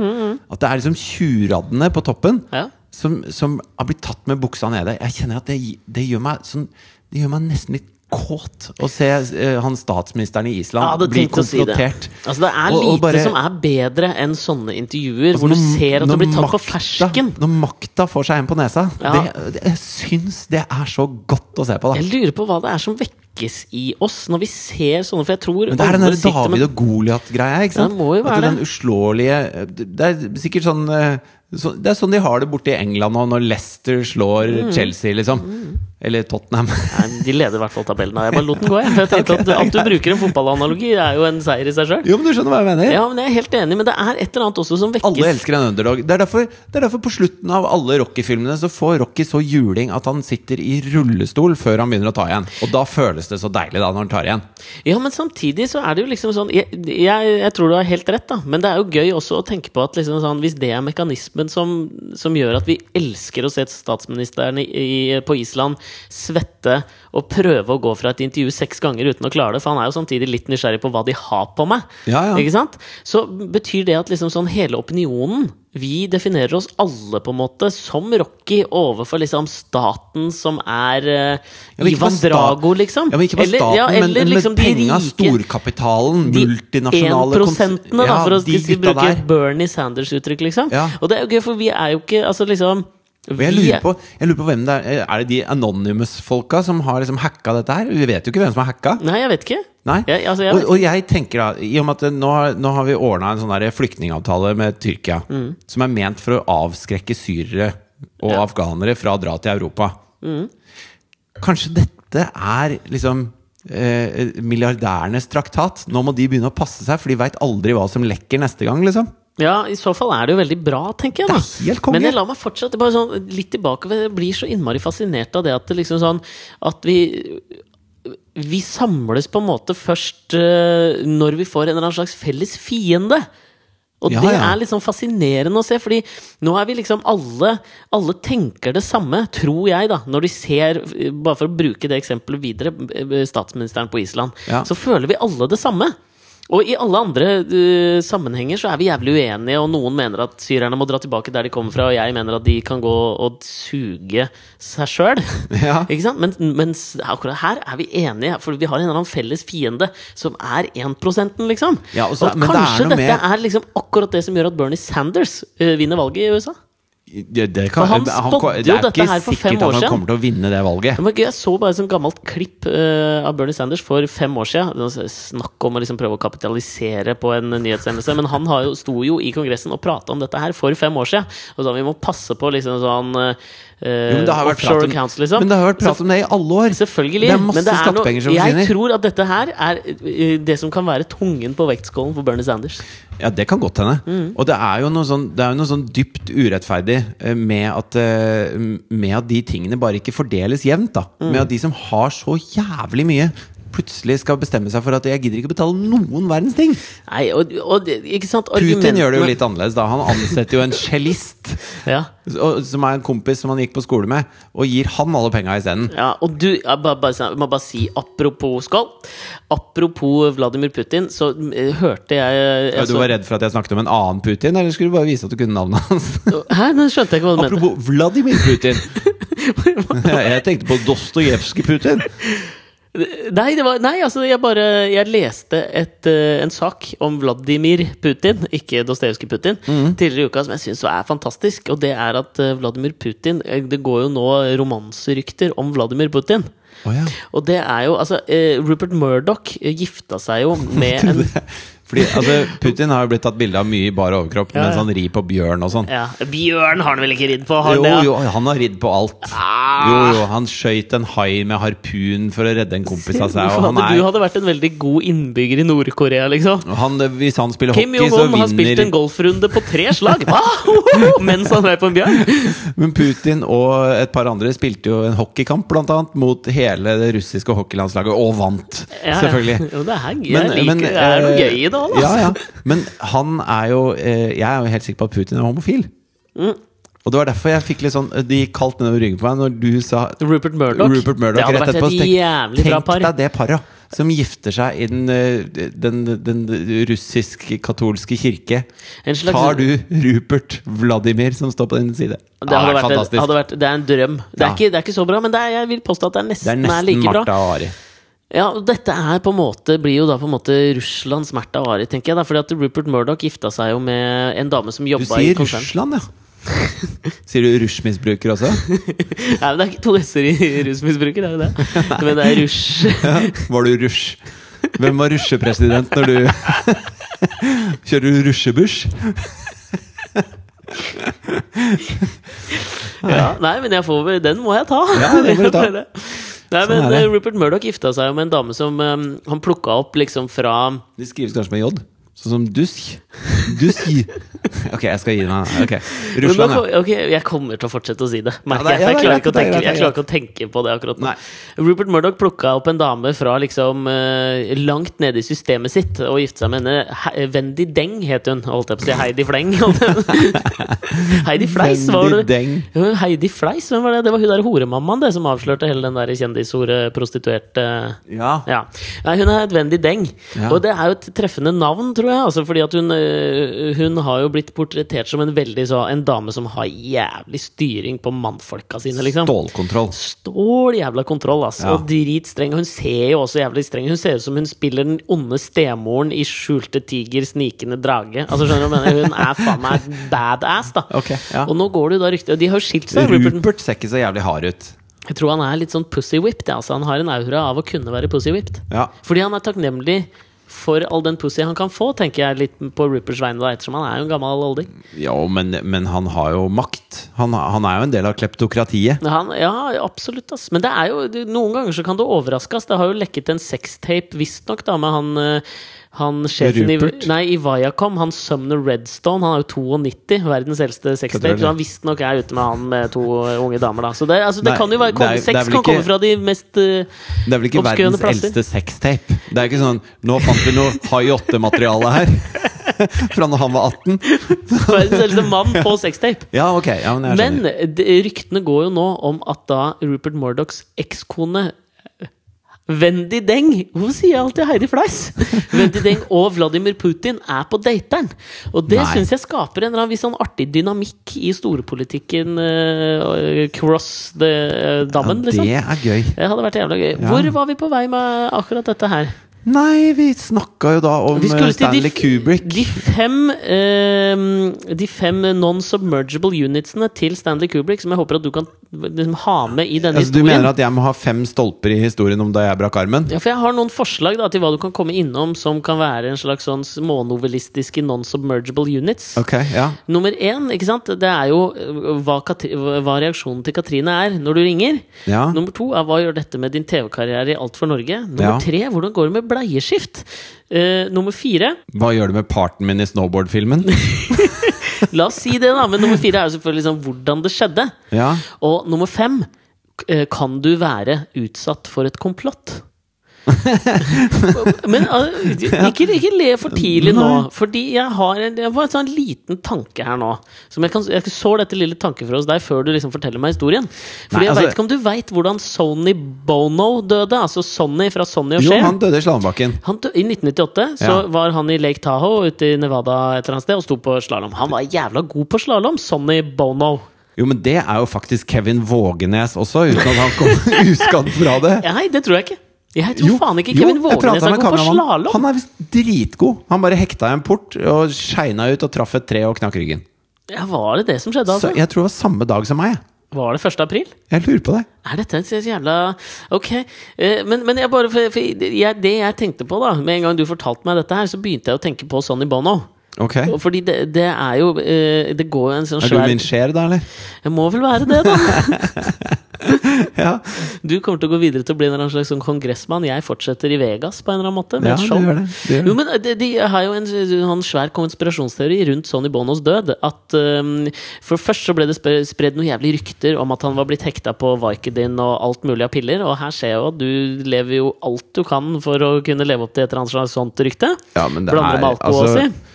Speaker 1: At det er liksom tjuraddene på toppen
Speaker 2: Mm, Ja.
Speaker 1: som, som har blitt tatt med buksa nede. Jeg kjenner at det, det, gjør, meg sånn, det gjør meg nesten litt kåt å se eh, han statsministeren i
Speaker 2: Jeg
Speaker 1: Island
Speaker 2: hadde
Speaker 1: bli
Speaker 2: tenkt å si det.
Speaker 1: konfrontert.
Speaker 2: Altså, det er
Speaker 1: Og-
Speaker 2: lite
Speaker 1: og bare-
Speaker 2: som er bedre enn sånne intervjuer, hvor du
Speaker 1: Altså, når-
Speaker 2: ser at det
Speaker 1: når
Speaker 2: blir tatt på
Speaker 1: makta-
Speaker 2: fersken.
Speaker 1: Når makta får seg en på nesa.
Speaker 2: Ja.
Speaker 1: Det, det, jeg syns det er så godt å se på, da.
Speaker 2: Jeg lurer på hva det er som vekkes i oss når vi ser sånne, for jeg tror
Speaker 1: Men det er den der
Speaker 2: alle sitter med-
Speaker 1: David og Goliat-greia. ikke sant?
Speaker 2: Det må jo
Speaker 1: At
Speaker 2: være
Speaker 1: den
Speaker 2: det.
Speaker 1: uslåelige Det er sikkert sånn eh, Så, det er sånn de har det borte i England nå, når Leicester slår
Speaker 2: Mm.
Speaker 1: Chelsea, liksom. Eller Tottenham. (laughs)
Speaker 2: Nei, de leder i hvert fall tabellen. her. Jeg bare lot den gå. Jeg. For jeg tenkte at, at du bruker en fotballanalogi, er jo en seier i seg sjøl.
Speaker 1: jo, men du skjønner hva jeg mener?
Speaker 2: Ja, men jeg er helt enig, men det er et eller annet også som
Speaker 1: Alle
Speaker 2: vekkes.
Speaker 1: elsker en underdog. Det er derfor, det er derfor på slutten av alle Rocky-filmene så får Rocky så juling at han sitter i rullestol før han begynner å ta igjen. Og da føles det så deilig da når han tar igjen.
Speaker 2: Ja, men samtidig så er det jo liksom sånn Jeg, jeg, jeg tror du har helt rett, da. Men det er jo gøy også å tenke på at liksom sånn, hvis det er mekanismen som, som gjør at vi elsker å se statsministeren i, i, på Island svette og prøve å gå fra et intervju seks ganger uten å klare det, for han er jo samtidig litt nysgjerrig på hva de har på meg.
Speaker 1: Ja, ja.
Speaker 2: Ikke sant? Så betyr det at liksom sånn hele opinionen Vi definerer oss alle på en måte som Rocky overfor liksom staten som er eh,
Speaker 1: Ja, men ikke
Speaker 2: Ivan
Speaker 1: bare sta-
Speaker 2: Drago, liksom.
Speaker 1: Ja, men ikke bare staten, men, men med penga, storkapitalen,
Speaker 2: de
Speaker 1: multinasjonale
Speaker 2: 1%-ene, da,
Speaker 1: Ja,
Speaker 2: for å
Speaker 1: de
Speaker 2: si-
Speaker 1: gutta
Speaker 2: bruke
Speaker 1: der.
Speaker 2: et Bernie Sanders-uttrykk, liksom.
Speaker 1: Ja.
Speaker 2: Og det er jo gøy, for vi er jo ikke Altså, liksom
Speaker 1: Og jeg
Speaker 2: vi-
Speaker 1: lurer, på, jeg lurer på hvem det er Er det de Anonymous-folka som har liksom hacka dette her? Vi vet jo ikke hvem som har hacka.
Speaker 2: Nei, jeg vet ikke.
Speaker 1: Nei.
Speaker 2: Jeg, altså, jeg,
Speaker 1: og, og jeg tenker da, i og med at det- nå, har- nå har vi ordna en sånn der flyktningavtale med Tyrkia,
Speaker 2: Mm.
Speaker 1: som er ment for å avskrekke syrere og afghanere fra å dra til Europa.
Speaker 2: Mm.
Speaker 1: Kanskje dette er liksom eh, milliardærenes traktat? Nå må de begynne å passe seg, for de veit aldri hva som lekker neste gang, liksom.
Speaker 2: Ja, i så fall er det jo veldig bra, tenker jeg da.
Speaker 1: Det er helt konge.
Speaker 2: Men jeg la meg fortsatt bare sånn, litt tilbake, for jeg blir så innmari fascinert av det at det liksom sånn At vi vi samles på en måte først eh, når vi får en eller annen slags felles fiende. Og
Speaker 1: Ja,
Speaker 2: det
Speaker 1: ja.
Speaker 2: er litt sånn fascinerende å se, fordi nå er vi liksom alle Alle tenker det samme, tror jeg, da, når de ser, eh, bare for å bruke det eksempelet videre, eh, statsministeren på Island.
Speaker 1: Ja.
Speaker 2: Så føler vi alle det samme. Og i alle andre eh, sammenhenger så er vi jævlig uenige, og noen mener at syrerne må dra tilbake der de kommer fra, og jeg mener at de kan gå og suge seg sjøl.
Speaker 1: (laughs) Ja.
Speaker 2: Ikke sant? Men, mens akkurat her er vi enige, for vi har en eller annen felles fiende som er 1 liksom.
Speaker 1: Ja, og så-
Speaker 2: og
Speaker 1: men det er
Speaker 2: kanskje
Speaker 1: noe
Speaker 2: dette
Speaker 1: med-
Speaker 2: er liksom akkurat det som gjør at Bernie Sanders eh, vinner valget i USA?
Speaker 1: Det, det kan,
Speaker 2: For han spådde jo
Speaker 1: det er
Speaker 2: dette
Speaker 1: ikke
Speaker 2: her for fem
Speaker 1: sikkert
Speaker 2: år
Speaker 1: at
Speaker 2: siden.
Speaker 1: han kommer til å vinne det valget.
Speaker 2: Det var gøy, Jeg så bare et sånt gammelt klipp eh, av Bernie Sanders for fem år siden. Det var Snakk om å liksom prøve å kapitalisere på en nyhetshendelse. Men han har jo, sto jo i Kongressen og prata om dette her for fem år siden. Og sa vi må passe på liksom sånn eh,
Speaker 1: Jo, men det har vært prat
Speaker 2: offshore
Speaker 1: om,
Speaker 2: accounts, liksom.
Speaker 1: Men det har vært prat om det i alle år.
Speaker 2: Selvfølgelig.
Speaker 1: Det er masse
Speaker 2: men det er noe,
Speaker 1: skattepenger som
Speaker 2: jeg
Speaker 1: forsvinner.
Speaker 2: tror at dette her er eh, det som kan være tungen på vektskålen for Bernie Sanders.
Speaker 1: Ja, det kan godt hende. Og det er jo noe sånn, det er jo noe sånn dypt urettferdig eh, med at, eh, med at de tingene bare ikke fordeles jevnt. da Med at de som har så jævlig mye, plutselig skal bestemme seg for at jeg gidder ikke betale noen verdens ting.
Speaker 2: Nei, og, og det- ikke sant
Speaker 1: Putin gjør det jo
Speaker 2: Argumentene-
Speaker 1: litt annerledes. da Han ansetter jo en cellist,
Speaker 2: Ja.
Speaker 1: og- som er en kompis som han gikk på skole med, og gir han alle penga isteden.
Speaker 2: Ja, og du, jeg bare, bare, sånn, jeg må bare si apropos skål. Apropos Vladimir Putin, så eh, hørte jeg
Speaker 1: Ja, Du
Speaker 2: altså-
Speaker 1: var redd for at jeg snakket om en annen Putin, eller skulle du bare vise at du kunne navnet hans?
Speaker 2: Hæ, nå skjønte jeg ikke hva du mente.
Speaker 1: Apropos Vladimir Putin. jeg tenkte på Dostojevskij Putin.
Speaker 2: (laughs) Nei, det var, nei, altså, jeg bare Jeg leste et, eh, en sak om Vladimir Putin, ikke Dostojevskij Putin,
Speaker 1: Mhm.
Speaker 2: tidligere i uka som jeg syns er fantastisk, og det er at eh, Vladimir Putin eh, Det går jo nå romanserykter om Vladimir Putin.
Speaker 1: Oh, ja.
Speaker 2: Og det er jo Altså, eh, Rupert Murdoch eh, gifta seg
Speaker 1: (laughs)
Speaker 2: jo med en
Speaker 1: Fordi altså, Putin har jo blitt tatt bilde av mye i bar overkropp
Speaker 2: Ja, ja.
Speaker 1: mens han rir på bjørn og sånn.
Speaker 2: ja, Bjørn har han vel ikke ridd på? Har han
Speaker 1: Jo,
Speaker 2: det, Ah. ja?
Speaker 1: jo, han har ridd på alt. Jo, jo, han skøyt en hai med harpun for å redde en kompis av
Speaker 2: (laughs)
Speaker 1: seg. Og
Speaker 2: Hvorfor
Speaker 1: han
Speaker 2: hadde du
Speaker 1: er,
Speaker 2: hadde vært en veldig god innbygger i Nord-Korea, liksom?
Speaker 1: han, hvis han spiller
Speaker 2: Kim
Speaker 1: hockey, så
Speaker 2: Jong-un har spilt en
Speaker 1: vinner
Speaker 2: golfrunde på tre
Speaker 1: (laughs)
Speaker 2: slag! Hva? Mens han er på en bjørn!
Speaker 1: Men Putin og et par andre spilte jo en hockeykamp, blant annet, mot hele det russiske hockeylandslaget, og vant,
Speaker 2: Ja,
Speaker 1: selvfølgelig.
Speaker 2: Ja, det er, jeg liker det. Det er noe
Speaker 1: eh,
Speaker 2: gøy i det òg, altså.
Speaker 1: Ja, ja. Men han er jo eh, Jeg er jo helt sikker på at Putin er homofil.
Speaker 2: Mm.
Speaker 1: Og det var derfor jeg fikk litt sånn De gikk kaldt nedover ryggen på meg når du sa
Speaker 2: altså. Rupert Murdoch.
Speaker 1: Rupert Murdoch
Speaker 2: det hadde
Speaker 1: rett
Speaker 2: vært
Speaker 1: etterpå.
Speaker 2: et
Speaker 1: Så
Speaker 2: jævlig bra par.
Speaker 1: tenk deg det paret som gifter seg i den, eh, den, den, russisk-katolske kirke.
Speaker 2: En slags-
Speaker 1: Tar du Rupert Vladimir, som står på din side?
Speaker 2: Det, hadde
Speaker 1: vært
Speaker 2: vært, et-
Speaker 1: fantastisk.
Speaker 2: hadde vært, det er en drøm. Det er,
Speaker 1: Ja.
Speaker 2: ikke, det er ikke så bra, men det er, jeg vil påstå at det er nesten,
Speaker 1: det er nesten
Speaker 2: like bra.
Speaker 1: Martha og Ari.
Speaker 2: Ja, og dette er på en måte, blir jo da på en måte Russlands Märtha Ari, tenker jeg. Da, fordi at Rupert Murdoch gifta seg jo med en dame som
Speaker 1: Du
Speaker 2: jobba i
Speaker 1: sier
Speaker 2: konsern.
Speaker 1: Russland, ja.
Speaker 2: (laughs)
Speaker 1: Sier du russmisbruker også?
Speaker 2: Nei, men det er ikke to s-er i rusmisbruker, er det
Speaker 1: (laughs)
Speaker 2: det? Men det er rush.
Speaker 1: Ja, var du rush? Hvem var rusjepresident når du (laughs) Kjører du rusjebuss?
Speaker 2: Ja, nei, men jeg får, vel- den må (laughs) jeg ta.
Speaker 1: Ja, den må du ta. Sånn
Speaker 2: Nei, men
Speaker 1: er det.
Speaker 2: eh, Rupert Murdoch gifta seg jo med en dame som eh, han plukka opp liksom fra
Speaker 1: Det skrives kanskje med J. Sånn som dusk. Dusk. Ok, jeg skal gi meg. Ok,
Speaker 2: Men nå
Speaker 1: Russland, ja.
Speaker 2: kom- Ok, jeg kommer til å fortsette å si det.
Speaker 1: Ja,
Speaker 2: Merker
Speaker 1: det er-
Speaker 2: jeg.
Speaker 1: ja, det
Speaker 2: Jeg
Speaker 1: er
Speaker 2: klarer
Speaker 1: greit,
Speaker 2: ikke å
Speaker 1: det er
Speaker 2: tenke,
Speaker 1: greit, det er
Speaker 2: jeg klarer ikke å tenke på det akkurat nå.
Speaker 1: Nei.
Speaker 2: Rupert Murdoch plukka opp en dame fra liksom eh, langt nede i systemet sitt og gifte seg med henne. He Wendy Deng het hun. Holdt jeg på å si Heidi Fleng. holdt
Speaker 1: (laughs)
Speaker 2: jeg- Heidi Fleis, hva var
Speaker 1: Wendy
Speaker 2: det?
Speaker 1: Deng.
Speaker 2: Ja, men Heidi Fleis, hvem var det? Det var hun der horemammaen det, som avslørte hele den der kjendishore prostituerte
Speaker 1: Ja.
Speaker 2: ja. Nei, hun er et Wendy Deng.
Speaker 1: Ja.
Speaker 2: Og det er jo et treffende navn, tror jeg. Altså, fordi at hun, øh, hun har jo blitt portrettert som en veldig så, En dame som har jævlig styring på mannfolka sine, liksom.
Speaker 1: Stålkontroll.
Speaker 2: Stål jævla kontroll, ass.
Speaker 1: Ja.
Speaker 2: Og dritstreng. Og hun ser jo også jævlig streng Hun ser ut som hun spiller den onde stemoren i Skjulte tiger, snikende drage. Altså, skjønner du hva jeg mener? Hun er faen meg badass, da.
Speaker 1: Ok, ja.
Speaker 2: Og nå går det jo da rykter Og de har jo skilt seg, Rupert.
Speaker 1: Rupert ser ikke så jævlig hard ut.
Speaker 2: Jeg tror han er litt sånn pussy-whipped. ja, Altså. Han har en aura av å kunne være pussy-whipped.
Speaker 1: Ja.
Speaker 2: Fordi han er takknemlig for all den pussy han kan få, tenker jeg litt på Ruperts vegne, da, ettersom han er jo en gammel olding.
Speaker 1: Jo, men, men han har jo makt. Han, han er jo en del av kleptokratiet.
Speaker 2: Men Han, ja, absolutt, ass. Men det er jo, du- noen ganger så kan det overraske, ass. Det har jo lekket en sextape, visstnok, da, med han eh, han sjefen
Speaker 1: Rupert?
Speaker 2: i, nei, i Viacom, han Sumner Redstone, han er jo 92, verdens eldste
Speaker 1: Kødder
Speaker 2: sextape,
Speaker 1: du?
Speaker 2: så han visstnok er ute med han med to eh, unge damer, da. Så det, altså, det
Speaker 1: Nei,
Speaker 2: kan jo
Speaker 1: det
Speaker 2: være
Speaker 1: er-
Speaker 2: komme,
Speaker 1: det er
Speaker 2: Sex
Speaker 1: vel
Speaker 2: kan komme
Speaker 1: ikke-
Speaker 2: fra de mest eh,
Speaker 1: Det er vel ikke
Speaker 2: Obskøne
Speaker 1: verdens
Speaker 2: plasser.
Speaker 1: eldste sextape. Det er ikke sånn 'Nå fant vi noe Hai 8-materiale her'. (laughs) Fra når han var 18.
Speaker 2: verdens eldste mann på sextape.
Speaker 1: Ja, ok. Ja, men jeg
Speaker 2: Men
Speaker 1: skjønner.
Speaker 2: det, ryktene går jo nå om at da Rupert Murdochs ekskone Wendy Deng Hvorfor sier jeg alltid Heidi Fleiss?
Speaker 1: (laughs)
Speaker 2: Wendy Deng og Vladimir Putin er på dateren. Og det
Speaker 1: Nei.
Speaker 2: syns jeg skaper en eller annen viss sånn artig dynamikk i storpolitikken eh, cross the eh, dammen, liksom.
Speaker 1: Det er gøy.
Speaker 2: Det hadde vært jævla gøy. Hvor var vi på vei med akkurat dette her?
Speaker 1: Nei, vi snakka jo da om
Speaker 2: Vi skulle
Speaker 1: eh,
Speaker 2: til de
Speaker 1: Stanley
Speaker 2: f-
Speaker 1: Kubrick.
Speaker 2: De fem, eh, de fem non-submergible unitsene til Stanley Kubrick, som jeg håper at du kan liksom, ha med i denne
Speaker 1: Altså, du
Speaker 2: historien.
Speaker 1: mener at jeg må ha fem stolper i historien om da jeg brakk armen?
Speaker 2: Ja, for jeg har noen forslag da, til hva du kan komme innom som kan være en slags sånn smånovelistiske non-submergible units.
Speaker 1: Ok, ja
Speaker 2: Nummer én, ikke sant? det er jo øh, hva, Katri hva reaksjonen til Katrine er når du ringer.
Speaker 1: Ja.
Speaker 2: Nummer to er hva gjør dette med din TV-karriere i Alt for Norge? Nummer
Speaker 1: Ja.
Speaker 2: tre, hvordan går det med bleieskift? Eh, nummer fire
Speaker 1: Hva gjør det med parten min i
Speaker 2: (laughs)
Speaker 1: snowboardfilmen?
Speaker 2: La oss si det, da. Men nummer fire er jo selvfølgelig sånn hvordan det skjedde.
Speaker 1: Ja.
Speaker 2: Og nummer fem eh, kan du være utsatt for et komplott? (laughs) Men eh, ikke, ikke le for tidlig nå, fordi jeg har en, jeg har en sånn liten tanke her nå. Som jeg, kan, jeg sår dette lille tanke fra hos deg før du liksom forteller meg historien. Fordi
Speaker 1: Nei, altså-
Speaker 2: jeg veit ikke om du veit hvordan Sony Bono døde? Altså Sonny fra Sonny og
Speaker 1: Jo,
Speaker 2: Cher.
Speaker 1: han døde i slalåmbakken.
Speaker 2: Han, dø- I 1998 så
Speaker 1: Ja.
Speaker 2: var han i Lake Tahoe ute i Nevada et eller annet sted og sto på slalåm. Han var jævla god på slalåm, Sonny Bono.
Speaker 1: Jo, men det er jo faktisk Kevin Vågenes også, uten at han kom (laughs) uskadd fra det.
Speaker 2: Nei, det tror jeg ikke. Jeg tror
Speaker 1: Jo,
Speaker 2: faen ikke
Speaker 1: jo,
Speaker 2: Kevin
Speaker 1: jeg pratet
Speaker 2: Vågenes
Speaker 1: med
Speaker 2: er god på
Speaker 1: kameramann.
Speaker 2: slalåm.
Speaker 1: Han er visst dritgod. Han bare hekta i en port og skeina ut og traff et tre og knakk ryggen.
Speaker 2: Ja, var det det som skjedde,
Speaker 1: Så
Speaker 2: altså?
Speaker 1: jeg tror det var samme dag som meg. jeg.
Speaker 2: Var det 1. april?
Speaker 1: Jeg lurer på det.
Speaker 2: Er dette en så jævla Ok. eh, Men, men jeg bare, for, for jeg, det jeg tenkte på, da Med en gang du fortalte meg dette her, så begynte jeg å tenke på Sonny Bono.
Speaker 1: Ok.
Speaker 2: Og Fordi det, det er jo eh, Det går jo en sånn
Speaker 1: Er du
Speaker 2: svær
Speaker 1: min skjer da,
Speaker 2: (laughs)
Speaker 1: eller?
Speaker 2: Jeg må vel være det, da!
Speaker 1: Ja,
Speaker 2: Du kommer til å gå videre til å bli en eller annen slags sånn kongressmann. Jeg fortsetter i Vegas på en eller annen måte. Med
Speaker 1: ja
Speaker 2: et
Speaker 1: du
Speaker 2: show.
Speaker 1: gjør det. Du gjør
Speaker 2: Jo,
Speaker 1: det.
Speaker 2: men eh, de, de har jo en sånn svær konspirasjonsteori rundt Sonny Bonos død. At ehm, For først så ble det spre- spredd noen jævlige rykter om at han var blitt hekta på Vicodin og alt mulig av piller. Og her ser jeg jo at du lever jo alt du kan for å kunne leve opp til et eller annet slags sånt rykte.
Speaker 1: Ja, men det
Speaker 2: Blander
Speaker 1: er-
Speaker 2: med alkohol
Speaker 1: altså,
Speaker 2: også.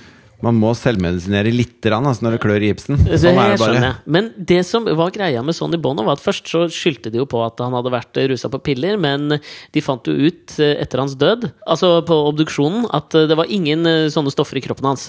Speaker 1: Man må selvmedisinere litt rann, altså, når det klør i gipsen.
Speaker 2: Så
Speaker 1: Sånn er
Speaker 2: jeg
Speaker 1: det bare.
Speaker 2: skjønner. Men det som var greia med Sonny Bono, var at først så skyldte de jo på at han hadde vært rusa på piller, men de fant jo ut eh, etter hans død, altså på obduksjonen, at eh, det var ingen eh, sånne stoffer i kroppen hans.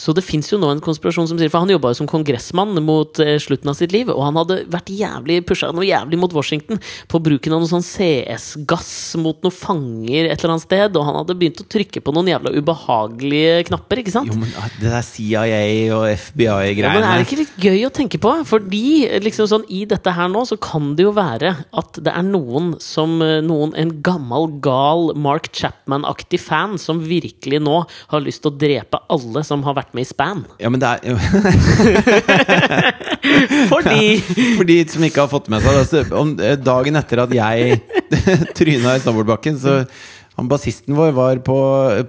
Speaker 2: Så det fins jo nå en konspirasjon som sier For han jobba jo som kongressmann mot eh, slutten av sitt liv, og han hadde vært jævlig pusha noe jævlig mot Washington på bruken av noe sånn CS-gass mot noen fanger et eller annet sted, og han hadde begynt å trykke på noen jævla ubehagelige knapper, ikke sant?
Speaker 1: Jo, men ah, Det der CIA og
Speaker 2: Ja, men
Speaker 1: FBI-greiene.
Speaker 2: er det ikke litt gøy å tenke på? Fordi liksom sånn, i dette her nå, så kan det jo være at det er noen som eh, noen, En gammel, gal Mark Chapman-aktig fan som virkelig nå har lyst til å drepe alle som har vært med i Span.
Speaker 1: ja, men det er
Speaker 2: Fordi
Speaker 1: (laughs) For de som ikke har fått med seg det så om, eh, Dagen etter at jeg (laughs) tryna i snowboardbakken, så han Bassisten vår var på,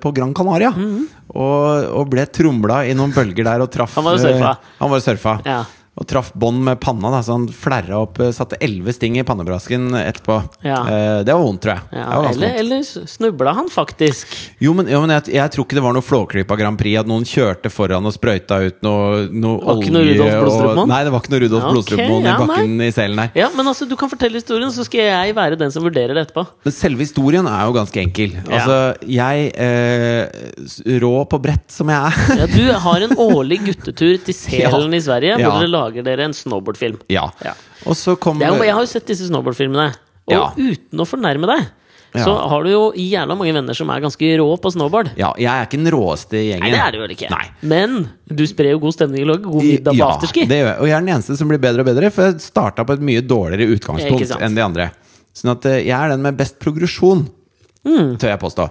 Speaker 1: på Gran Canaria
Speaker 2: Mhm.
Speaker 1: og, og ble tromla i noen bølger der og traff
Speaker 2: Han var jo surfa.
Speaker 1: eh, Han var jo surfa.
Speaker 2: Ja.
Speaker 1: Og traff bånd med panna, da, så han flerra opp eh, Satte elleve sting i pannebrasken etterpå.
Speaker 2: Ja.
Speaker 1: Eh, det var vondt, tror jeg. det
Speaker 2: (laughs) ja,
Speaker 1: var ganske
Speaker 2: Eller,
Speaker 1: vondt.
Speaker 2: eller snubla han faktisk?
Speaker 1: Jo, men, jo, men jeg, jeg tror ikke det var noe Flåklypa Grand Prix. At noen kjørte foran og sprøyta ut noe, noe
Speaker 2: Var ikke noe
Speaker 1: olje
Speaker 2: Rudolf Blodstrupmoen?
Speaker 1: og- Nei, det var ikke noe Rudolf
Speaker 2: Ja, ok,
Speaker 1: Blodstrupmoen
Speaker 2: ja,
Speaker 1: i bakken i selen, nei.
Speaker 2: Ja, men altså, du kan fortelle historien, så skal jeg være den som vurderer det etterpå.
Speaker 1: Men selve historien er jo ganske enkel.
Speaker 2: Ja.
Speaker 1: Altså, jeg eh, s- Rå på brett som jeg er.
Speaker 2: Ja, du har en årlig guttetur til Selen
Speaker 1: Ja.
Speaker 2: i Sverige, hvor
Speaker 1: Ja.
Speaker 2: dere lager dere en snowboardfilm.
Speaker 1: (laughs) ja.
Speaker 2: Ja.
Speaker 1: Og så kom
Speaker 2: Det er jo, jeg har jo sett disse snowboardfilmene,
Speaker 1: Mm.
Speaker 2: og
Speaker 1: Ja.
Speaker 2: uten å fornærme deg, så
Speaker 1: Ja.
Speaker 2: har du jo jævla mange venner som er ganske rå på snowboard.
Speaker 1: ja, jeg er ikke den råeste i gjengen.
Speaker 2: Nei, det er du vel ikke.
Speaker 1: Nei.
Speaker 2: Men du sprer jo god stemning og lager god middag på
Speaker 1: ja,
Speaker 2: afterski.
Speaker 1: Det gjør jeg. Og jeg er den eneste som blir bedre og bedre, for jeg starta på et mye dårligere
Speaker 2: Ikke
Speaker 1: utgangspunkt
Speaker 2: sant.
Speaker 1: enn de andre. Sånn at eh, jeg er den med best progresjon,
Speaker 2: Mm.
Speaker 1: tør jeg påstå.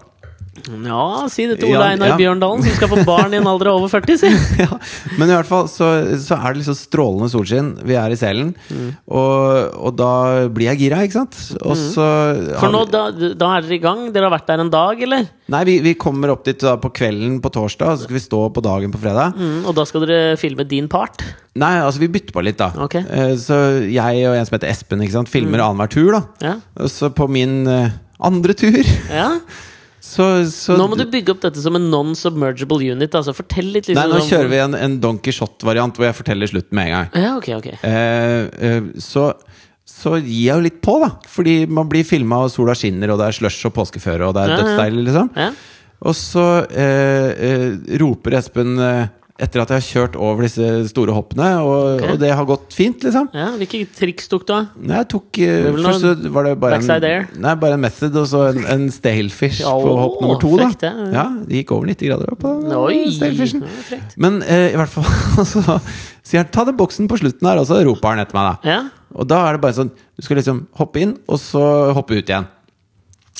Speaker 2: Ja, si det til
Speaker 1: Ja,
Speaker 2: Ole Einar
Speaker 1: ja.
Speaker 2: Bjørndalen, som skal få barn i en alder av over 40, si.
Speaker 1: (laughs) ja, men i hvert fall så, så er det liksom strålende solskinn. Vi er i selen.
Speaker 2: Mm.
Speaker 1: Og, og da blir jeg gira, ikke sant? Og så
Speaker 2: For nå, da, da er dere i gang? Dere har vært der en dag, eller?
Speaker 1: Nei, vi, vi kommer opp dit da på kvelden på torsdag, og så skal vi stå på dagen på fredag.
Speaker 2: Mm, og da skal dere filme din part?
Speaker 1: Nei, altså vi bytter på litt, da.
Speaker 2: Ok. Mm.
Speaker 1: Eh, Så jeg og en som heter Espen, ikke sant, filmer annenhver tur, da.
Speaker 2: Ja?
Speaker 1: Og så på min eh, andre tur (laughs)
Speaker 2: ja?
Speaker 1: så, så
Speaker 2: Nå må du bygge opp dette som en non-submergible unit. Altså, fortell litt liksom,
Speaker 1: Nei, nå
Speaker 2: om-
Speaker 1: kjører vi en, en Don Quijote-variant hvor jeg forteller slutten med en gang.
Speaker 2: Ja, ok, ok
Speaker 1: Eh, eh, så, så gir jeg jo litt på, da. Fordi man blir filma, og sola skinner, og det er slush og påskeføre, og det er
Speaker 2: Ja, ja.
Speaker 1: dødsdeilig, liksom.
Speaker 2: Ja?
Speaker 1: Og så eh, eh, roper Espen eh, etter at jeg har kjørt over disse store hoppene, og,
Speaker 2: Ok.
Speaker 1: og det har gått fint, liksom.
Speaker 2: ja? Hvilke triks tok du av?
Speaker 1: Nei, Jeg tok eh,
Speaker 2: Det er vel
Speaker 1: Først så var det bare
Speaker 2: backside
Speaker 1: en,
Speaker 2: air?
Speaker 1: nei, bare en method, og så en, en stalefish på
Speaker 2: Åh,
Speaker 1: hopp nummer to, da.
Speaker 2: frekt, det.
Speaker 1: Ja, det gikk over 90 grader på den
Speaker 2: Oi!
Speaker 1: stalefishen.
Speaker 2: Ja, frekt.
Speaker 1: Men eh, i hvert fall (laughs) så sier han 'ta den boksen på slutten her', og så roper han etter meg, da.
Speaker 2: Ja.
Speaker 1: Og da er det bare sånn Du skal liksom hoppe inn, og så hoppe ut igjen.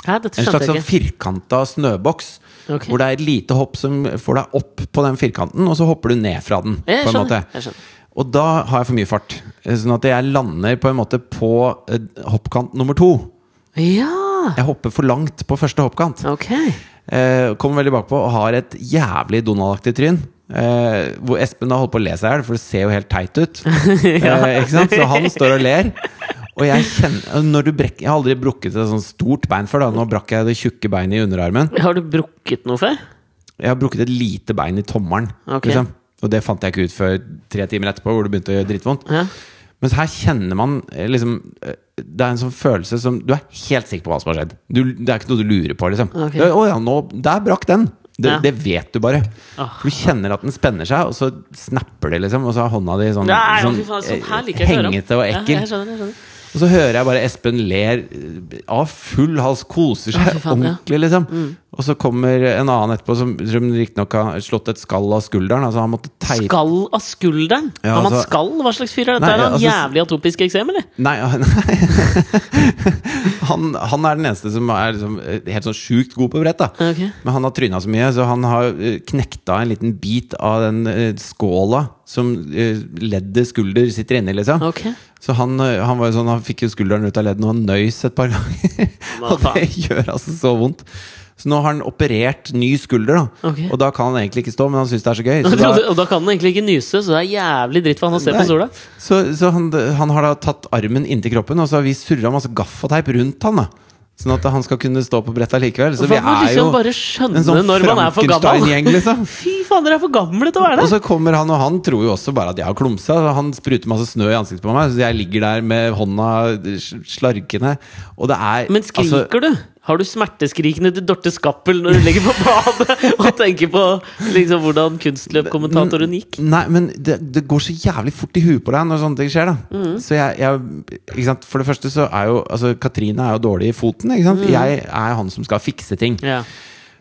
Speaker 2: Hæ, dette
Speaker 1: En
Speaker 2: skjønte
Speaker 1: slags sånn
Speaker 2: jeg ikke.
Speaker 1: firkanta snøboks.
Speaker 2: Ok.
Speaker 1: Hvor det er et lite hopp som får deg opp på den firkanten, og så hopper du ned fra den.
Speaker 2: Jeg
Speaker 1: på en måte.
Speaker 2: skjønner, jeg skjønner.
Speaker 1: Og da har jeg for mye fart. Eh, Sånn at jeg lander på en måte på eh, hoppkant nummer to.
Speaker 2: Ja!
Speaker 1: Jeg hopper for langt på første hoppkant.
Speaker 2: Ok.
Speaker 1: Eh, kommer veldig bakpå og har et jævlig Donald-aktig tryn. Eh, hvor Espen har holdt på å le seg i hjel, for det ser jo helt teit
Speaker 2: (laughs)
Speaker 1: ut. eh, ikke sant? Så han står og ler. Og jeg kjenner når du brekker, Jeg har aldri brukket et sånt stort bein før. da Nå brakk jeg det tjukke beinet i underarmen.
Speaker 2: Har du brukket noe før?
Speaker 1: Jeg har brukket et lite bein i tommelen.
Speaker 2: Ok.
Speaker 1: Liksom. Og det fant jeg ikke ut før tre timer etterpå, hvor det begynte å gjøre drittvondt.
Speaker 2: Ja.
Speaker 1: Mens her kjenner man eh, liksom eh, Det er en sånn følelse som Du er helt sikker på hva som har skjedd. Du, det er ikke noe du lurer på, liksom.
Speaker 2: Ok.
Speaker 1: Det er, Å ja, nå Der brakk den! Det,
Speaker 2: Ja.
Speaker 1: det vet du bare.
Speaker 2: Ah.
Speaker 1: Du kjenner at den spenner seg, og så snapper det, liksom. Og så har hånda di sånn,
Speaker 2: Nei,
Speaker 1: sånn,
Speaker 2: fy faen, sånn her
Speaker 1: eh,
Speaker 2: liker jeg ikke å høre om.
Speaker 1: hengete og
Speaker 2: Ja,
Speaker 1: ekkel.
Speaker 2: jeg skjønner, jeg skjønner.
Speaker 1: Og så hører jeg bare Espen ler eh, av full hals, koser
Speaker 2: Å,
Speaker 1: seg
Speaker 2: fy faen, ja. Mm.
Speaker 1: ordentlig, liksom. Og så kommer en annen etterpå som, som riktignok har slått et skall av skulderen. Altså han måtte teipe
Speaker 2: Skall av skulderen?
Speaker 1: Ja,
Speaker 2: har man
Speaker 1: altså-
Speaker 2: skall? Hva slags fyr er dette?
Speaker 1: Nei,
Speaker 2: er han
Speaker 1: altså-
Speaker 2: jævlig atopisk eksem, eller?
Speaker 1: Nei, (laughs) nei. Han, han er den eneste som er liksom, eh, helt sånn sjukt god på brett, da.
Speaker 2: Ah, Ok.
Speaker 1: Men han har tryna så mye, så han har eh, knekta en liten bit av den eh, skåla som eh, leddet skulder sitter inni, liksom.
Speaker 2: Ok.
Speaker 1: Så han, eh, han var jo sånn, han fikk jo skulderen ut av ledden, og han nøys et par (laughs) ganger.
Speaker 2: Hva
Speaker 1: og det gjør altså så vondt. Så nå har han operert ny skulder, da.
Speaker 2: Ok.
Speaker 1: Og da kan han egentlig ikke stå, men han syns det er så gøy.
Speaker 2: (laughs) Og
Speaker 1: Så da,
Speaker 2: da, kan den egentlig ikke nyse, så det er jævlig dritt for han å se på
Speaker 1: Nei.
Speaker 2: sola.
Speaker 1: så, så han, han har da tatt armen inntil kroppen, og så har vi surra masse gaffateip rundt han. da Sånn at han skal kunne stå på brettet likevel. Så
Speaker 2: For
Speaker 1: vi
Speaker 2: man må
Speaker 1: er
Speaker 2: liksom
Speaker 1: jo sånn
Speaker 2: bare skjønne når man er for gammel.
Speaker 1: Frankenstein-gjeng,
Speaker 2: (laughs)
Speaker 1: liksom.
Speaker 2: Fy faen, dere er for gamle til å være
Speaker 1: Og
Speaker 2: der!
Speaker 1: så kommer han, og han tror jo også bare at jeg har klumsa. så Han spruter masse snø i ansiktet på meg, så jeg ligger der med hånda sl- slarkende. Og det er altså,
Speaker 2: Men skriker du? Har du smerteskrikene til Dorte Skappel når du ligger på badet (laughs) og tenker på liksom, hvordan kunstløpkommentatoren gikk?
Speaker 1: Nei, men det, det går så jævlig fort i huet på deg når sånne ting skjer. da
Speaker 2: Mm.
Speaker 1: Så jeg, jeg ikke sant? For det første så er jo altså, Katrine er jo dårlig i foten. Ikke sant? Jeg er han som skal fikse ting.
Speaker 2: Mm. Ja.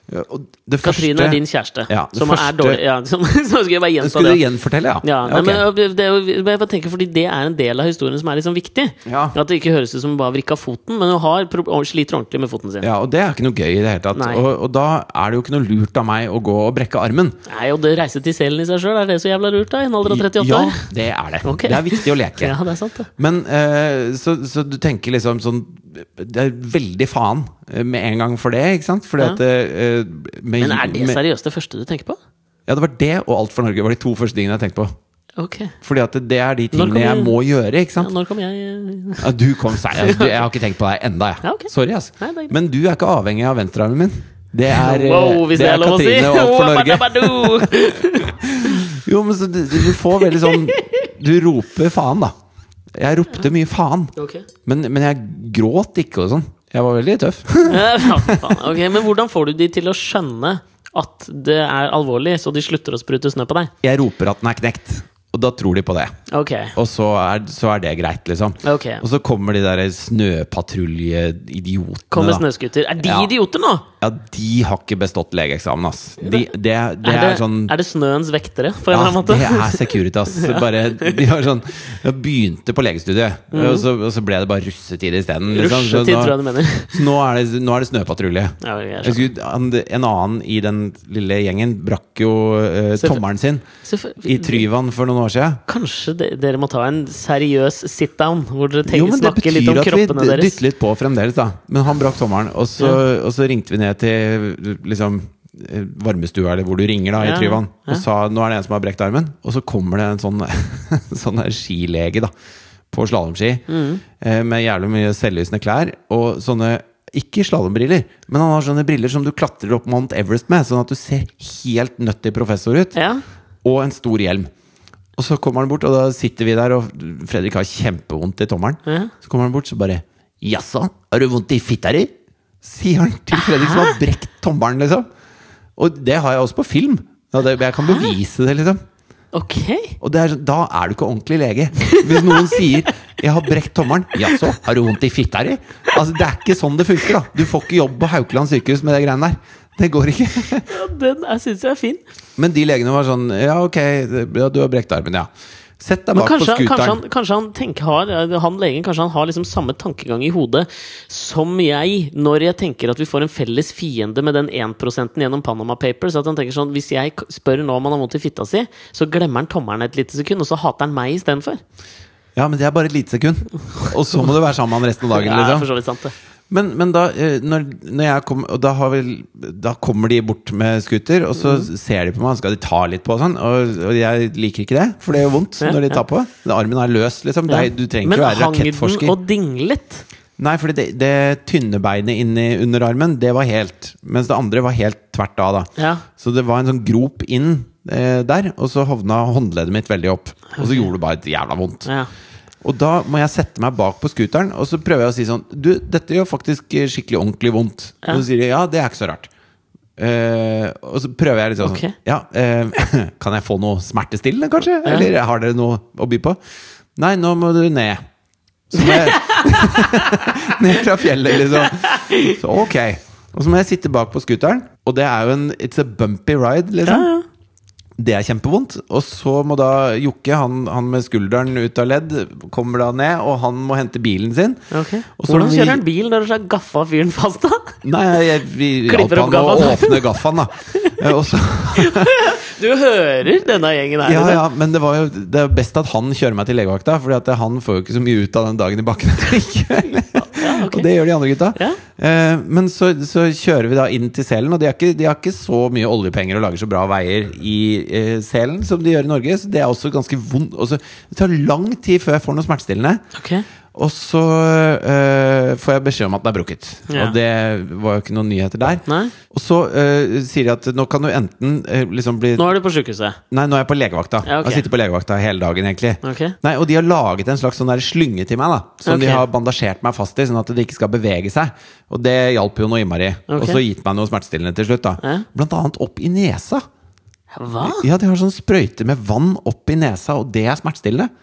Speaker 1: Ja, og det
Speaker 2: Katrine
Speaker 1: første-
Speaker 2: er din kjæreste,
Speaker 1: Ja, det
Speaker 2: som
Speaker 1: første-
Speaker 2: er dårlig ja, (laughs) som, Så skulle jeg bare gjenta
Speaker 1: Skulle
Speaker 2: det.
Speaker 1: du gjenfortelle, ja?
Speaker 2: Ja, nei,
Speaker 1: ok.
Speaker 2: men øh, det, er jo- men jeg bare tenker Fordi det er en del av historien som er liksom viktig.
Speaker 1: Ja.
Speaker 2: At det ikke høres ut som hun bare vrikka foten, men hun har, pro- og sliter ordentlig med foten sin.
Speaker 1: ja, og det er ikke noe gøy i det hele tatt.
Speaker 2: Nei.
Speaker 1: Og, og da er det jo ikke noe lurt av meg å gå og brekke armen.
Speaker 2: Nei, og det reise til selen i seg sjøl, er det så jævla lurt, da? I en alder av 38
Speaker 1: ja,
Speaker 2: år?
Speaker 1: det er det.
Speaker 2: Ok.
Speaker 1: Det er viktig å leke.
Speaker 2: Ja, det er sant, det.
Speaker 1: Men eh, så, så du tenker liksom sånn Det er veldig faen eh, med en gang for det, ikke sant? Fordi
Speaker 2: Ja.
Speaker 1: at eh, med,
Speaker 2: Men er det
Speaker 1: med,
Speaker 2: seriøst det første du tenker på?
Speaker 1: Ja, det var det og Alt for Norge var de to første tingene jeg tenkte på.
Speaker 2: Ok.
Speaker 1: Fordi at det er de
Speaker 2: kom
Speaker 1: tingene jeg
Speaker 2: du-
Speaker 1: må gjøre, ikke
Speaker 2: Ja,
Speaker 1: sant?
Speaker 2: når kom jeg eh,
Speaker 1: Ja, du kom seig. Altså, du- jeg har ikke tenkt på deg enda, jeg.
Speaker 2: Ja, ok.
Speaker 1: Sorry, ass.
Speaker 2: Nei, det er greit.
Speaker 1: Men du er ikke avhengig av venstrearmen min. Det er, eh,
Speaker 2: Wow, hvis det,
Speaker 1: det
Speaker 2: er
Speaker 1: er
Speaker 2: lov å si!
Speaker 1: Katrine og Alt for
Speaker 2: (laughs)
Speaker 1: Norge.
Speaker 2: Wabadabadu!
Speaker 1: Jo, men så du, du får veldig sånn Du roper faen, da. Jeg ropte mye faen.
Speaker 2: (laughs) Ok.
Speaker 1: Men, men jeg gråt ikke og sånn. Jeg var veldig tøff.
Speaker 2: Eh, Ja, faen. Ok, Men hvordan får du de til å skjønne at det er alvorlig, så de slutter å sprute snø på deg?
Speaker 1: Jeg roper at den er knekt, og da tror de på det.
Speaker 2: Ok.
Speaker 1: Og så er, så er det greit, liksom.
Speaker 2: ok
Speaker 1: Og så kommer de der snøpatrulje-idiotene.
Speaker 2: Kom med
Speaker 1: da.
Speaker 2: snøskuter. Er de
Speaker 1: Ja.
Speaker 2: idioter nå?
Speaker 1: Ja, de har ikke bestått legeeksamen, ass. De, det, det,
Speaker 2: Er
Speaker 1: er,
Speaker 2: det,
Speaker 1: sånn
Speaker 2: er det snøens vektere, på
Speaker 1: ja,
Speaker 2: en eller annen måte?
Speaker 1: det er Securitas. Bare, de har sånn, jeg begynte på legestudiet, og, så, og så ble det bare russetid isteden. Liksom. Så
Speaker 2: Rushetid,
Speaker 1: nå-
Speaker 2: Mm. tror jeg du mener. sånn.
Speaker 1: Så nå er det, nå er det snøpatrulje.
Speaker 2: (laughs) Ja, jeg
Speaker 1: Jeg skulle, han- en annen i den lille gjengen brakk jo eh,
Speaker 2: Selvfø-
Speaker 1: tommelen sin
Speaker 2: Selvfø-
Speaker 1: i Tryvann for noen år siden.
Speaker 2: Kanskje de, dere må ta en seriøs sit-down, hvor dere tenker,
Speaker 1: Jo, men det
Speaker 2: snakker litt
Speaker 1: betyr
Speaker 2: om
Speaker 1: at vi
Speaker 2: kroppene
Speaker 1: d-
Speaker 2: deres?
Speaker 1: dytter litt på fremdeles, da. Men han brakk tommelen, og, så- og så ringte vi ned til liksom eh, varmestua, eller hvor du ringer, da, i
Speaker 2: Ja,
Speaker 1: Tryvann,
Speaker 2: ja.
Speaker 1: og sa nå er det en som har brekt armen. Og så kommer det en sånn, (laughs) sånn der skilege, da, på slalåmski,
Speaker 2: Mm.
Speaker 1: eh, med jævlig mye selvlysende klær, og sånne ikke slalåmbriller, men han har sånne briller som du klatrer opp Mount Everest med, sånn at du ser helt nøttig professor ut
Speaker 2: Ja.
Speaker 1: og en stor hjelm. Og så kommer han bort, og da sitter vi der, og Fredrik har kjempevondt i tommelen.
Speaker 2: Ja.
Speaker 1: Så kommer han bort, så bare 'Jaså, har du vondt i fitta di?' Sier han til Fredrik som har brekt tommelen, liksom. Og det har jeg også på film. Ja, det- Jeg kan bevise det, liksom.
Speaker 2: Ok.
Speaker 1: Og det er, sånn, da er du ikke ordentlig lege. Hvis noen sier 'jeg har brekt tommelen', 'jaså, har du vondt i fitta di?' Altså, det er ikke sånn det funker, da. Du får ikke jobb på Haukeland sykehus med de greiene der. Det går ikke.
Speaker 2: Ja, den er- synes jeg er fin.
Speaker 1: Men de legene var sånn Ja, ok, ja, du har brekt armen, ja. Sett deg
Speaker 2: Men
Speaker 1: bak på
Speaker 2: kanskje, kanskje, han,
Speaker 1: scooteren.
Speaker 2: kanskje han tenker har, eh, han legen kanskje han har liksom samme tankegang i hodet som jeg når jeg tenker at vi får en felles fiende med den 1 gjennom Panama Papers. At han tenker sånn, Hvis jeg k- spør nå om han har vondt i fitta si, så glemmer han tommelen et lite sekund, og så hater han meg istedenfor.
Speaker 1: Ja, men det er bare et lite sekund. Og så må du være sammen med han resten av dagen.
Speaker 2: Ja, det er for
Speaker 1: Liksom.
Speaker 2: så vidt sant, det.
Speaker 1: Men, men da, eh, når, når jeg kom, og da, har vel, da kommer de bort med scooter, og så
Speaker 2: Mhm.
Speaker 1: ser de på meg, og skal de ta litt på og sånn. Og, og jeg liker ikke det, for det gjør vondt
Speaker 2: Ja,
Speaker 1: når de tar på. Armen er løs, liksom. Det er- du trenger
Speaker 2: Men
Speaker 1: ikke å være
Speaker 2: hang den
Speaker 1: rakettforsker.
Speaker 2: og dinglet?
Speaker 1: Nei, fordi det, det tynne beinet inni underarmen, det var helt. Mens det andre var helt tvert av, da.
Speaker 2: Ja.
Speaker 1: Så det var en sånn grop inn eh, der, og så hovna håndleddet mitt veldig opp. Og så gjorde det bare et jævla vondt.
Speaker 2: ja.
Speaker 1: Og da må jeg sette meg bak på scooteren, og så prøver jeg å si sånn Du, dette gjør faktisk eh, skikkelig ordentlig vondt.
Speaker 2: Ja.
Speaker 1: Og så sier de ja, det er ikke så rart. Eh, og så prøver jeg litt sånn
Speaker 2: Ok.
Speaker 1: Ja, eh, (laughs) kan jeg få noe smertestillende, kanskje? Eller har dere noe å by på? Nei, nå må du ned. Så må jeg (laughs) ned fra fjellet, liksom. Så ok. Og så må jeg sitte bak på scooteren, og det er jo en It's a bumpy ride, liksom. Det er kjempevondt. Og så må da Jokke, han, han med skulderen ut av ledd, kommer da ned, og han må hente bilen sin.
Speaker 2: Ok.
Speaker 1: Og så
Speaker 2: Hvordan
Speaker 1: vi-
Speaker 2: kjører han bil når du har gaffa fyren fast, da? (laughs)
Speaker 1: Nei, jeg, vi hjalp
Speaker 2: Klipper opp
Speaker 1: han å
Speaker 2: gaffaen.
Speaker 1: åpne gaffaen, da.
Speaker 2: (laughs)
Speaker 1: Eh, Og så,
Speaker 2: Du hører denne (laughs) gjengen her.
Speaker 1: ja,
Speaker 2: liksom.
Speaker 1: ja, men det, var jo, det er best at han kjører meg til legevakta, Fordi at han får jo ikke så mye ut av den dagen i bakken (laughs) likevel.
Speaker 2: Ja, ok.
Speaker 1: Og det gjør de andre gutta.
Speaker 2: Ja.
Speaker 1: Eh, men så, så kjører vi da inn til selen, og de har, ikke, de har ikke så mye oljepenger og lager så bra veier i eh, selen som de gjør i Norge, så det er også ganske vondt. Og så- det tar lang tid før jeg får noe smertestillende.
Speaker 2: Ok.
Speaker 1: Og så eh, får jeg beskjed om at den er brukket.
Speaker 2: Ja.
Speaker 1: Og det var jo ikke noen nyheter der.
Speaker 2: Nei.
Speaker 1: Og så eh, sier de at nå kan du enten eh, liksom bli
Speaker 2: Nå er du på sjukehuset.
Speaker 1: Nei, nå er jeg på legevakta.
Speaker 2: Ja, ok.
Speaker 1: Jeg sitter på legevakta hele dagen, egentlig.
Speaker 2: Ok.
Speaker 1: Nei, Og de har laget en slags sånn der slynge til meg, da som
Speaker 2: Ok.
Speaker 1: de har bandasjert meg fast i, sånn at det ikke skal bevege seg. Og det hjalp jo noe innmari.
Speaker 2: Ok.
Speaker 1: Og så gitt meg noe smertestillende til slutt. da
Speaker 2: Ja.
Speaker 1: Blant annet opp i nesa.
Speaker 2: Hva?
Speaker 1: Ja, de har sånn sprøyte med vann opp i nesa, og det er smertestillende.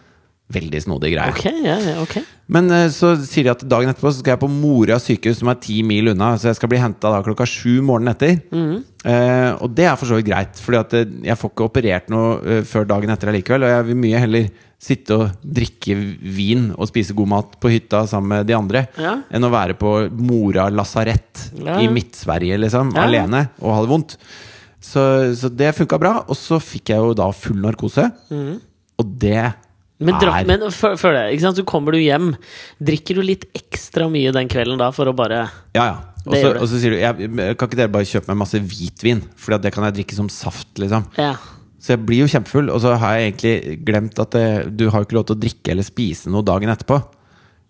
Speaker 1: Veldig snodig greie.
Speaker 2: Ok, ja, ja, ok.
Speaker 1: Men eh, så sier de at dagen etterpå så skal jeg på Mora sykehus, som er ti mil unna. Så jeg skal bli henta klokka sju morgenen etter.
Speaker 2: Mhm.
Speaker 1: Eh, og det er for så vidt greit, Fordi at eh, jeg får ikke operert noe eh, før dagen etter allikevel. Og jeg vil mye heller sitte og drikke vin og spise god mat på hytta sammen med de andre,
Speaker 2: Ja.
Speaker 1: enn å være på Mora lasarett
Speaker 2: Ja.
Speaker 1: i Midt-Sverige, liksom,
Speaker 2: Ja.
Speaker 1: alene og ha det vondt. Så, så det funka bra. Og så fikk jeg jo da full narkose, og det
Speaker 2: Mhm. Men, drakk,
Speaker 1: er
Speaker 2: men før, før det, ikke sant? så kommer du hjem. Drikker du litt ekstra mye den kvelden da for å bare
Speaker 1: Ja, ja. Og
Speaker 2: Det
Speaker 1: så,
Speaker 2: gjør det.
Speaker 1: og så sier du jeg, Kan ikke dere bare kjøpe meg masse hvitvin? For det kan jeg drikke som saft, liksom.
Speaker 2: Ja.
Speaker 1: Så jeg blir jo kjempefull. Og så har jeg egentlig glemt at det, du har jo ikke lov til å drikke eller spise noe dagen etterpå.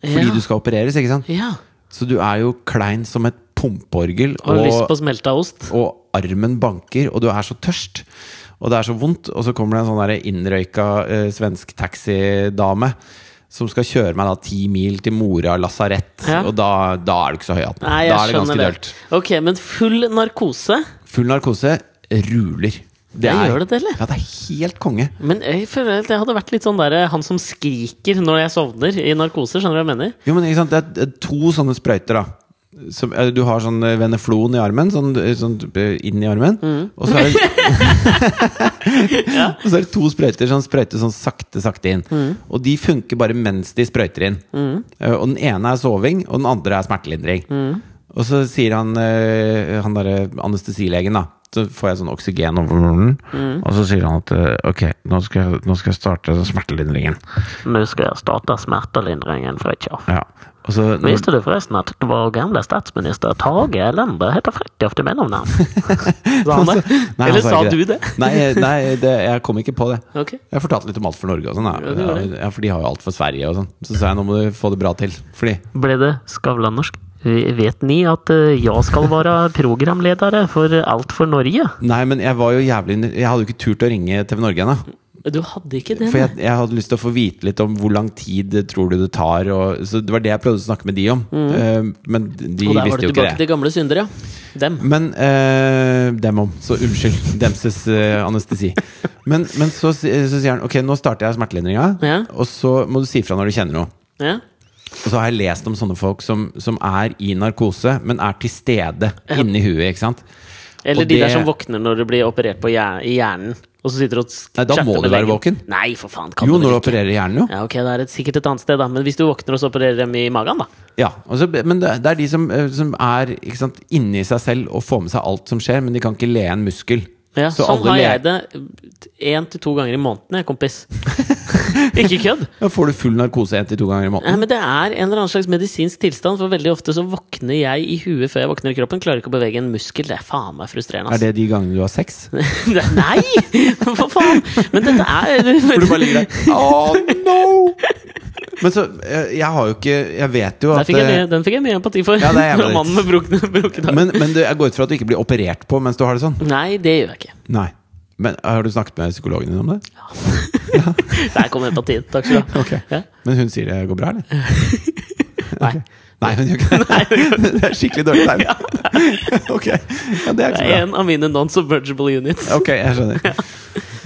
Speaker 1: Fordi
Speaker 2: Ja.
Speaker 1: du skal opereres, ikke sant?
Speaker 2: ja.
Speaker 1: Så du er jo klein som et pumpeorgel.
Speaker 2: Har du lyst
Speaker 1: Og,
Speaker 2: på smelta ost?
Speaker 1: og armen banker, og du er så tørst. Og det er så vondt. Og så kommer det en sånn der innrøyka eh, svensk taxidame. Som skal kjøre meg da ti mil til Mora lasarett.
Speaker 2: Ja.
Speaker 1: Og da, da er du ikke så høy i hatten.
Speaker 2: Nei, jeg
Speaker 1: Da er det ganske
Speaker 2: skjønner det.
Speaker 1: dølt.
Speaker 2: Ok, men full narkose?
Speaker 1: Full narkose ruler. Det
Speaker 2: Ja, gjør det det, eller?
Speaker 1: Ja, det er helt konge.
Speaker 2: Men jeg føler at jeg hadde vært litt sånn der han som skriker når jeg sovner i narkose. Skjønner du hva jeg mener?
Speaker 1: Jo, men ikke sant, det er to sånne sprøyter, da. Som, eh, du har sånn eh, veneflon i armen, sånn, eh, sånn eh, inn i armen. Og, så er det, og så er det to sprøyter som sprøyter sånn sakte, sakte inn. Og de funker bare mens de sprøyter inn. Eh, Og den ene er soving, og den andre er smertelindring. Og så sier han, eh, han derre anestesilegen, da. Så får jeg sånn oksygen over munnen. Og så sier han at eh, ok, nå skal, jeg- nå skal jeg starte smertelindringen.
Speaker 2: Nå skal jeg starte smertelindringen, Fridtjof.
Speaker 1: Ja. Og så, når,
Speaker 2: Visste du forresten at vår gamle statsminister Tage Erlende heter Fridtjof
Speaker 1: (laughs)
Speaker 2: til mellomnavn? Sa han
Speaker 1: Altså,
Speaker 2: det?
Speaker 1: Nei, han
Speaker 2: Eller
Speaker 1: sa
Speaker 2: sa
Speaker 1: ikke
Speaker 2: du det?
Speaker 1: Nei, eh, nei det, jeg kom ikke på det.
Speaker 2: Ok.
Speaker 1: Jeg fortalte litt om alt for Norge og sånn.
Speaker 2: Ja, det gjorde
Speaker 1: da. Ja, for de har jo alt for Sverige og sånn. Så sa jeg nå må du få det bra til. Fordi
Speaker 2: Ble det Skavlan-norsk? Vet ni at eh, jeg skal være (laughs) programleder for Alt for Norge?
Speaker 1: Nei, men jeg var jo jævlig Jeg hadde jo ikke turt å ringe TV Norge ennå.
Speaker 2: Du hadde ikke det?
Speaker 1: For jeg, jeg hadde lyst til å få vite litt om hvor lang tid tror du det tar. Og, så det var det jeg prøvde å snakke med de om. Eh, men de
Speaker 2: Mm. Og der var du
Speaker 1: visste jo
Speaker 2: tilbake
Speaker 1: ikke det.
Speaker 2: til gamle syndere, ja. Dem.
Speaker 1: Men eh, dem om. Så unnskyld. Demses eh, anestesi.
Speaker 2: (laughs)
Speaker 1: Men, men så, si- så sier han ok, nå starter jeg smertelindringa,
Speaker 2: Ja.
Speaker 1: og så må du si fra når du kjenner noe.
Speaker 2: Ja.
Speaker 1: Og så har jeg lest om sånne folk som, som er i narkose, men er til stede inni huet. ikke sant?
Speaker 2: Eller
Speaker 1: Og
Speaker 2: de der
Speaker 1: det-
Speaker 2: som våkner når du blir operert på hjer- i hjernen, og så sitter du og s-
Speaker 1: Nei, da
Speaker 2: chatter
Speaker 1: må
Speaker 2: med
Speaker 1: du være
Speaker 2: legen.
Speaker 1: våken.
Speaker 2: Nei, for faen, kan
Speaker 1: Jo, når
Speaker 2: du
Speaker 1: du
Speaker 2: vel ikke?
Speaker 1: opererer hjernen, jo.
Speaker 2: Ja, ok, det er et, sikkert et annet sted, da. Men hvis du våkner og så opererer dem i magen, da.
Speaker 1: Ja, og så- Men det det er de som, eh, som er ikke sant, inni seg selv og får med seg alt som skjer, men de kan ikke le en muskel.
Speaker 2: Ja,
Speaker 1: Så
Speaker 2: sånn
Speaker 1: alle
Speaker 2: har
Speaker 1: le-
Speaker 2: jeg det én til to ganger i måneden, jeg, kompis.
Speaker 1: (laughs)
Speaker 2: ikke kødd!
Speaker 1: Da får du full narkose én til to ganger i måneden.
Speaker 2: Nei, Eh, men Det er en eller annen slags medisinsk tilstand, for veldig ofte så våkner jeg i huet før jeg våkner i kroppen. Klarer ikke å bevege en muskel. Det er faen meg
Speaker 1: Er
Speaker 2: frustrerende. ass.
Speaker 1: det de gangene du har
Speaker 2: (laughs)
Speaker 1: sex?
Speaker 2: Nei! For faen! Men dette
Speaker 1: (laughs)
Speaker 2: er
Speaker 1: Hvor du bare ligger der Oh no! Men så eh, Jeg har jo ikke Jeg vet jo
Speaker 2: Der
Speaker 1: at
Speaker 2: fikk jeg,
Speaker 1: eh,
Speaker 2: mye- den fikk jeg mye empati for.
Speaker 1: Ja, det
Speaker 2: (laughs)
Speaker 1: er jævlig
Speaker 2: Mannen med brukne- brukket arm.
Speaker 1: Men, men det, jeg går ut fra at du ikke blir operert på mens du har det sånn?
Speaker 2: Nei, det gjør jeg ikke.
Speaker 1: Nei. Men Har du snakket med psykologen din om det?
Speaker 2: Der kom empatien. Takk skal du ha.
Speaker 1: Ok.
Speaker 2: Ja.
Speaker 1: Men hun sier det går bra, eller?
Speaker 2: Nei.
Speaker 1: Nei, hun gjør ikke (laughs) det. Det er skikkelig dårlig tegn. (laughs) ok, ja, det er
Speaker 2: Det
Speaker 1: ikke så
Speaker 2: er
Speaker 1: bra.
Speaker 2: en av mine non-submergible units.
Speaker 1: Ok, jeg skjønner.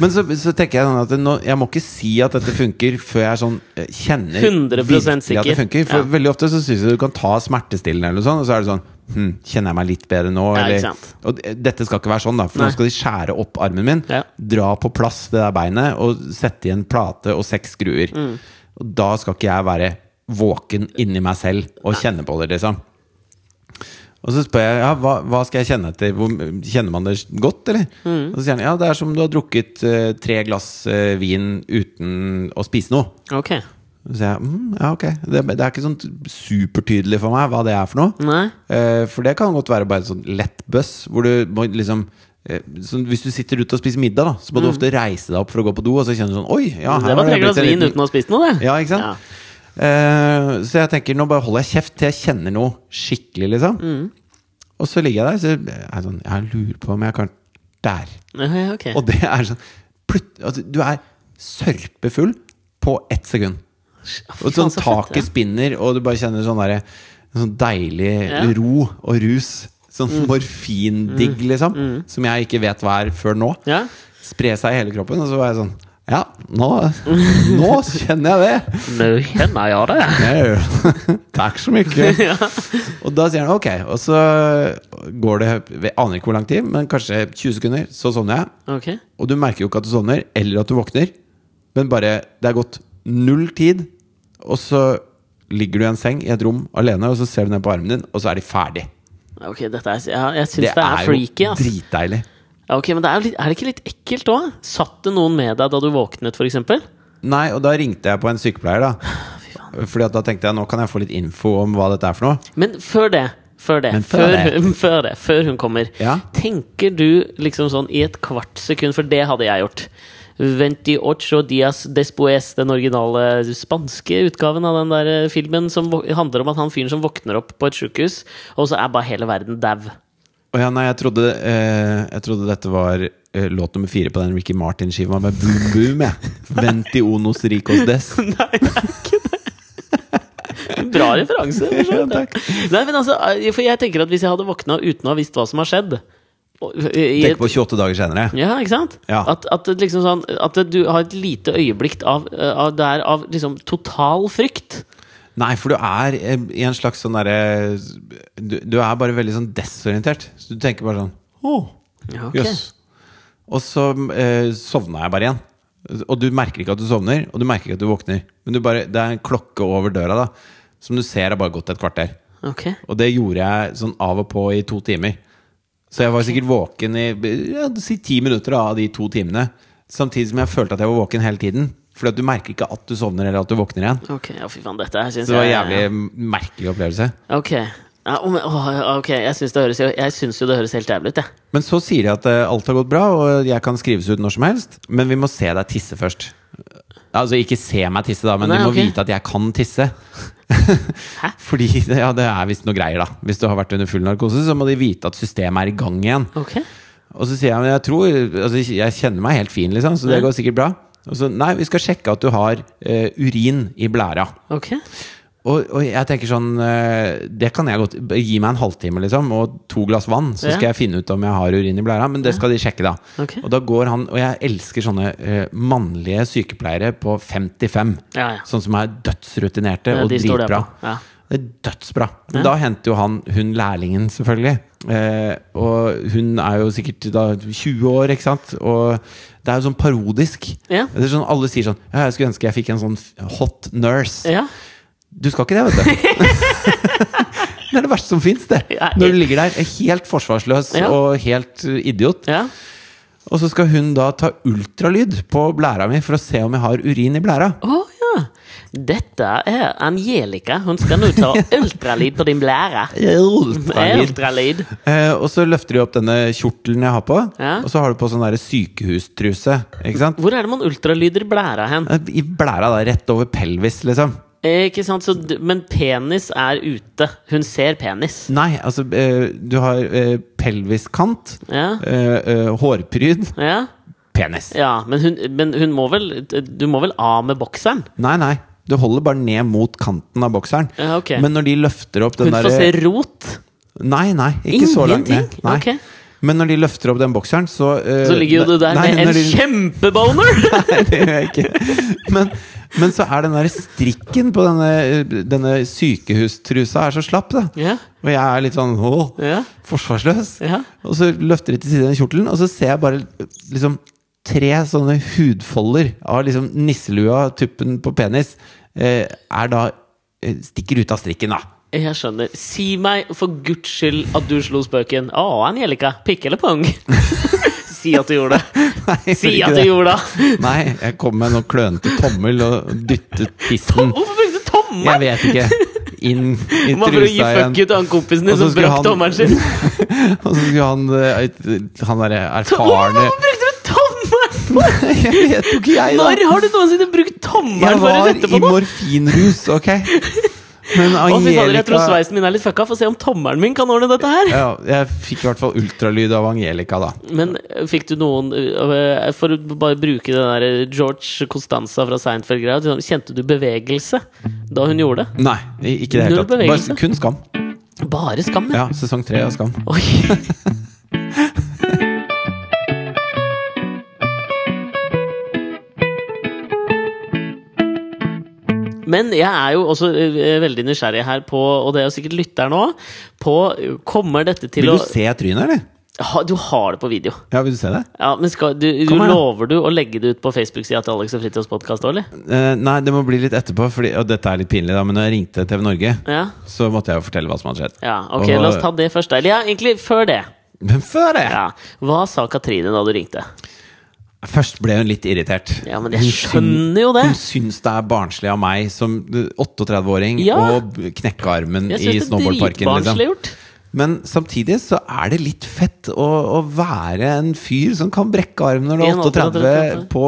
Speaker 1: Men så, så tenker jeg sånn at nå, jeg må ikke si at dette funker før jeg sånn eh, kjenner
Speaker 2: 100%
Speaker 1: virkelig at det
Speaker 2: sikker.
Speaker 1: funker. For
Speaker 2: Ja.
Speaker 1: veldig ofte så syns jeg du kan ta smertestillende eller noe sånt, og så er det sånn hm, Kjenner jeg meg litt bedre nå?
Speaker 2: Ja, ikke
Speaker 1: Eller,
Speaker 2: sant.
Speaker 1: og d- dette skal ikke være sånn, da. For
Speaker 2: Nei.
Speaker 1: nå skal de skjære opp armen min,
Speaker 2: Ja.
Speaker 1: dra på plass det der beinet og sette i en plate og seks skruer.
Speaker 2: Mm.
Speaker 1: Og da skal ikke jeg være våken inni meg selv og kjenne på det, liksom. Og så spør jeg ja, hva, hva skal jeg kjenne etter. Hvor, kjenner man det godt, eller?
Speaker 2: Mm.
Speaker 1: Og så sier han ja, det er som du har drukket eh, tre glass eh, vin uten å spise noe.
Speaker 2: Ok.
Speaker 1: Og Så sier jeg mm, ja, ok. Det, det er ikke sånn supertydelig for meg hva det er for noe.
Speaker 2: Nei.
Speaker 1: Eh, for det kan godt være bare en sånn lett buss, hvor du må liksom eh, sånn, hvis du sitter ute og spiser middag, da, så må du ofte reise deg opp for å gå på do. Og så kjenner du sånn Oi! Ja,
Speaker 2: Mm. det var
Speaker 1: har
Speaker 2: tre
Speaker 1: jeg blitt
Speaker 2: glass
Speaker 1: en
Speaker 2: vin
Speaker 1: liten-
Speaker 2: uten å ha spist noe, det.
Speaker 1: Ja, ikke sant? Eh, så jeg tenker, nå bare holder jeg kjeft til jeg kjenner noe skikkelig, liksom.
Speaker 2: Mm.
Speaker 1: Og så ligger jeg der, så er jeg sånn Jeg lurer på om jeg kan Der.
Speaker 2: Ja, ja, ok.
Speaker 1: Og det er sånn plut, altså, Du er sørpefull på ett sekund. Og
Speaker 2: faen,
Speaker 1: sånn
Speaker 2: så fett,
Speaker 1: taket spinner, og du bare kjenner sånn derre Sånn deilig
Speaker 2: Ja. Mm.
Speaker 1: ro og rus. Sånn morfindigg, liksom. Som jeg ikke vet hva er før nå.
Speaker 2: Ja.
Speaker 1: Spre seg i hele kroppen. Og så var jeg sånn Ja, nå,
Speaker 2: (laughs)
Speaker 1: nå kjenner jeg det!
Speaker 2: Nå kjenner jeg det.
Speaker 1: Jau. (laughs) Takk så mye.
Speaker 2: (laughs) Ja.
Speaker 1: Og da sier han ok, og så går det Jeg aner ikke hvor lang tid, men kanskje 20 sekunder, så sovner jeg.
Speaker 2: Ok.
Speaker 1: Og du merker jo ikke at du sovner, eller at du våkner, men bare det er gått null tid, og så ligger du i en seng i et rom alene, og så ser du ned på armen din, og så er de ferdig.
Speaker 2: Ok, dette er ja, Jeg syns det, er freaky,
Speaker 1: jo
Speaker 2: ass.
Speaker 1: dritdeilig.
Speaker 2: Ja, Ok, Men det er, jo litt, er det ikke litt ekkelt òg? Satt det noen med deg da du våknet, for eksempel?
Speaker 1: Nei, og da ringte jeg på en sykepleier, da.
Speaker 2: Ah,
Speaker 1: Fordi at da tenkte jeg nå kan jeg få litt info om hva dette er for noe.
Speaker 2: Men før det, før det,
Speaker 1: Men før
Speaker 2: før,
Speaker 1: det.
Speaker 2: hun- før det, før hun kommer,
Speaker 1: Ja.
Speaker 2: tenker du liksom sånn i et kvart sekund, for det hadde jeg gjort. 28 dias despues, den originale spanske utgaven av den der eh, filmen, som vå- handler om at han fyren som våkner opp på et sjukehus, og så er bare hele verden dau.
Speaker 1: Å ja, nei, jeg trodde, eh, jeg trodde dette var eh, låt nummer fire på den Ricky Martin-skiva med Boom Boom,
Speaker 2: (laughs)
Speaker 1: jeg. Venti unos ricos des.
Speaker 2: Nei, det er ikke det. Bra referanse. for så vidt.
Speaker 1: Ja, takk.
Speaker 2: Nei, men altså, for jeg tenker at hvis jeg hadde våkna uten å ha visst hva som har skjedd og- eh, i et-
Speaker 1: Tenk på 28 dager senere.
Speaker 2: Ja, ikke sant?
Speaker 1: Ja.
Speaker 2: At, at, det liksom sånn, at du har et lite øyeblikk av, eh, av, der, av liksom total frykt.
Speaker 1: Nei, for du er eh, i en slags sånn derre du, du er bare veldig sånn desorientert. Så du tenker bare sånn Å,
Speaker 2: Ja,
Speaker 1: jøss.
Speaker 2: ok.
Speaker 1: Og så eh, sovna jeg bare igjen. Og du merker ikke at du sovner, og du merker ikke at du våkner. Men du bare, det er en klokke over døra da som du ser har bare gått et kvarter.
Speaker 2: Ok.
Speaker 1: Og det gjorde jeg sånn av og på i to timer. Så jeg var sikkert våken i ja, si ti minutter av de to timene. Samtidig som jeg følte at jeg var våken hele tiden. Fordi at du merker ikke at du sovner eller at du våkner igjen.
Speaker 2: Ok, ja, fy faen, dette her syns
Speaker 1: Så det var en jævlig merkelig opplevelse.
Speaker 2: Ok. Ja, om- åh, ok, jeg syns det, høres- jeg syns jo det høres helt jævlig ut, jeg.
Speaker 1: Men så sier de at eh, alt har gått bra, og jeg kan skrives ut når som helst. Men vi må se deg tisse først. Altså ikke se meg tisse, da, men
Speaker 2: Nei,
Speaker 1: du må
Speaker 2: ok.
Speaker 1: vite at jeg kan tisse. (laughs) Fordi ja, det er visst noe greier, da. Hvis du har vært under full narkose, så må de vite at systemet er i gang igjen.
Speaker 2: Ok.
Speaker 1: Og så sier jeg men jeg tror altså, Jeg kjenner meg helt fin, liksom, så det
Speaker 2: Ja.
Speaker 1: går sikkert bra. Og så nei, vi skal sjekke at du har eh, urin i blæra.
Speaker 2: Ok.
Speaker 1: Og, og jeg tenker sånn eh, Det kan jeg godt Gi meg en halvtime, liksom, og to glass vann, så
Speaker 2: Ja.
Speaker 1: skal jeg finne ut om jeg har urin i blæra. Men det skal de sjekke, da.
Speaker 2: Ok.
Speaker 1: Og da går han Og jeg elsker sånne eh, mannlige sykepleiere på 55.
Speaker 2: Ja, ja.
Speaker 1: Sånn som er dødsrutinerte
Speaker 2: Ja,
Speaker 1: og
Speaker 2: de står der
Speaker 1: dritbra.
Speaker 2: på. Ja.
Speaker 1: Det er dødsbra. Men
Speaker 2: Ja.
Speaker 1: da henter jo han hun lærlingen, selvfølgelig. Eh, og hun er jo sikkert da 20 år, ikke sant? Og det er jo sånn parodisk.
Speaker 2: Ja.
Speaker 1: Det er sånn, alle sier sånn Ja, jeg skulle ønske jeg fikk en sånn f- hot nurse.
Speaker 2: ja.
Speaker 1: Du skal ikke det, vet du.
Speaker 2: (laughs)
Speaker 1: det er det verste som fins, det.
Speaker 2: Ja,
Speaker 1: Når du ligger der helt forsvarsløs
Speaker 2: Ja.
Speaker 1: og helt eh, idiot.
Speaker 2: ja.
Speaker 1: Og så skal hun da ta ultralyd på blæra mi for å se om jeg har urin i blæra.
Speaker 2: Å ja. Dette er Angelica. Hun skal nå
Speaker 1: (laughs)
Speaker 2: ta ultralyd på din blære.
Speaker 1: Ultralyd.
Speaker 2: Ultralyd.
Speaker 1: Eh, og så løfter de opp denne kjortelen jeg har på,
Speaker 2: Ja.
Speaker 1: og så har du på sånn der sykehustruse. Ikke sant?
Speaker 2: Hvor er det man ultralyder blæra hen?
Speaker 1: Eh, I blæra, da. Rett over pelvis, liksom.
Speaker 2: Eh, Ikke sant, så, d- Men penis er ute. Hun ser penis.
Speaker 1: Nei, altså, eh, du har eh, pelviskant,
Speaker 2: Ja.
Speaker 1: eh, eh, hårpryd,
Speaker 2: Ja,
Speaker 1: penis.
Speaker 2: ja men, hun, men hun må vel Du må vel av med bokseren?
Speaker 1: Nei, nei. Du holder bare ned mot kanten av bokseren.
Speaker 2: Ja, ok.
Speaker 1: Men når de løfter opp den
Speaker 2: Hun får
Speaker 1: derre
Speaker 2: se rot.
Speaker 1: Nei, nei, ikke så langt ned.
Speaker 2: Ingenting?
Speaker 1: Nei.
Speaker 2: Ok.
Speaker 1: Men når de løfter opp den bokseren, så eh,
Speaker 2: Så ligger jo du der
Speaker 1: nei,
Speaker 2: med en
Speaker 1: når de-
Speaker 2: kjempeboner!
Speaker 1: (laughs) Nei, det gjør jeg ikke. Men, men så er den der strikken på denne, denne sykehustrusa er så slapp, da.
Speaker 2: Ja,
Speaker 1: Og jeg er litt sånn åh,
Speaker 2: ja,
Speaker 1: forsvarsløs.
Speaker 2: ja.
Speaker 1: Og så løfter de til side den kjortelen, og så ser jeg bare liksom tre sånne hudfolder av liksom nisselua, tuppen på penis, eh, er da eh, Stikker ut av strikken, da. (laughs)
Speaker 2: Jeg skjønner. Si meg for guds skyld at du slo spøken. Å, Angelica. Pikk eller pung? (laughs) si at du gjorde det.
Speaker 1: Nei, jeg
Speaker 2: Si
Speaker 1: gjorde ikke
Speaker 2: at du
Speaker 1: det.
Speaker 2: gjorde det!
Speaker 1: Nei, jeg kom med noen klønete tommel og dyttet pissen
Speaker 2: Hvorfor brukte du tommelen?
Speaker 1: Jeg vet ikke. Inn i
Speaker 2: Bare for å
Speaker 1: trusa
Speaker 2: gi
Speaker 1: igjen.
Speaker 2: fuck ut han kompisen
Speaker 1: Og
Speaker 2: din
Speaker 1: så
Speaker 2: som
Speaker 1: skulle
Speaker 2: brakk
Speaker 1: han-
Speaker 2: tommelen sin.
Speaker 1: (laughs) Og så skulle han eh, et- Han derre erfarne (laughs)
Speaker 2: Hvorfor brukte du tommelen?
Speaker 1: Jeg vet jo ikke, jeg,
Speaker 2: Når
Speaker 1: da!
Speaker 2: har du noensinne brukt tommelen
Speaker 1: Jeg
Speaker 2: for å
Speaker 1: var
Speaker 2: sette
Speaker 1: i
Speaker 2: på noe?
Speaker 1: morfinrus, ok? Men
Speaker 2: Å, fy fader, jeg tror
Speaker 1: Angelica
Speaker 2: sveisen min er litt fucka. Få se om tommelen min kan ordne dette her.
Speaker 1: ja, Jeg fikk i hvert fall ultralyd av Angelica, da.
Speaker 2: Men eh, fikk du noen eh, For å bare bruke den der George Costanza fra Seinfeld-greia. sånn, Kjente du bevegelse da hun gjorde det?
Speaker 1: Nei, i- ikke i det hele
Speaker 2: Null
Speaker 1: tatt.
Speaker 2: bevegelse.
Speaker 1: Bare, kun Skam.
Speaker 2: Bare skam,
Speaker 1: Ja,
Speaker 2: ja.
Speaker 1: sesong tre av Skam.
Speaker 2: Oi. Men jeg er jo også eh, veldig nysgjerrig her på, og det er jo sikkert lytteren òg, på eh, Kommer dette til
Speaker 1: Vil
Speaker 2: å
Speaker 1: du se trynet, eller?
Speaker 2: ha, Du har det på video.
Speaker 1: Ja, vil du se det?
Speaker 2: Ja, men skal, du, du
Speaker 1: Kom her, da.
Speaker 2: Lover du å legge det ut på Facebook-sida til Alex og Fritjofs podkast òg, eller?
Speaker 1: Eh, nei, det må bli litt etterpå, fordi, og dette er litt pinlig, da, men når jeg ringte TV Norge,
Speaker 2: Ja.
Speaker 1: så måtte jeg jo fortelle hva som hadde skjedd.
Speaker 2: ja ok,
Speaker 1: Og-
Speaker 2: la oss ta det først. Eller ja, egentlig før det.
Speaker 1: Men før det!
Speaker 2: Ja. Hva sa Katrine da du ringte?
Speaker 1: Først ble hun litt irritert.
Speaker 2: Ja, men jeg
Speaker 1: Hun syn-
Speaker 2: skjønner jo det.
Speaker 1: Hun syns det er barnslig av meg som 38-åring
Speaker 2: Ja.
Speaker 1: å b- knekke armen
Speaker 2: Jeg
Speaker 1: i
Speaker 2: syns det er
Speaker 1: snowboardparken. Liksom.
Speaker 2: dritbarnslig gjort.
Speaker 1: Men samtidig så er det litt fett å, å være en fyr som kan brekke armen når du
Speaker 2: I
Speaker 1: er
Speaker 2: en alder av
Speaker 1: 38 på,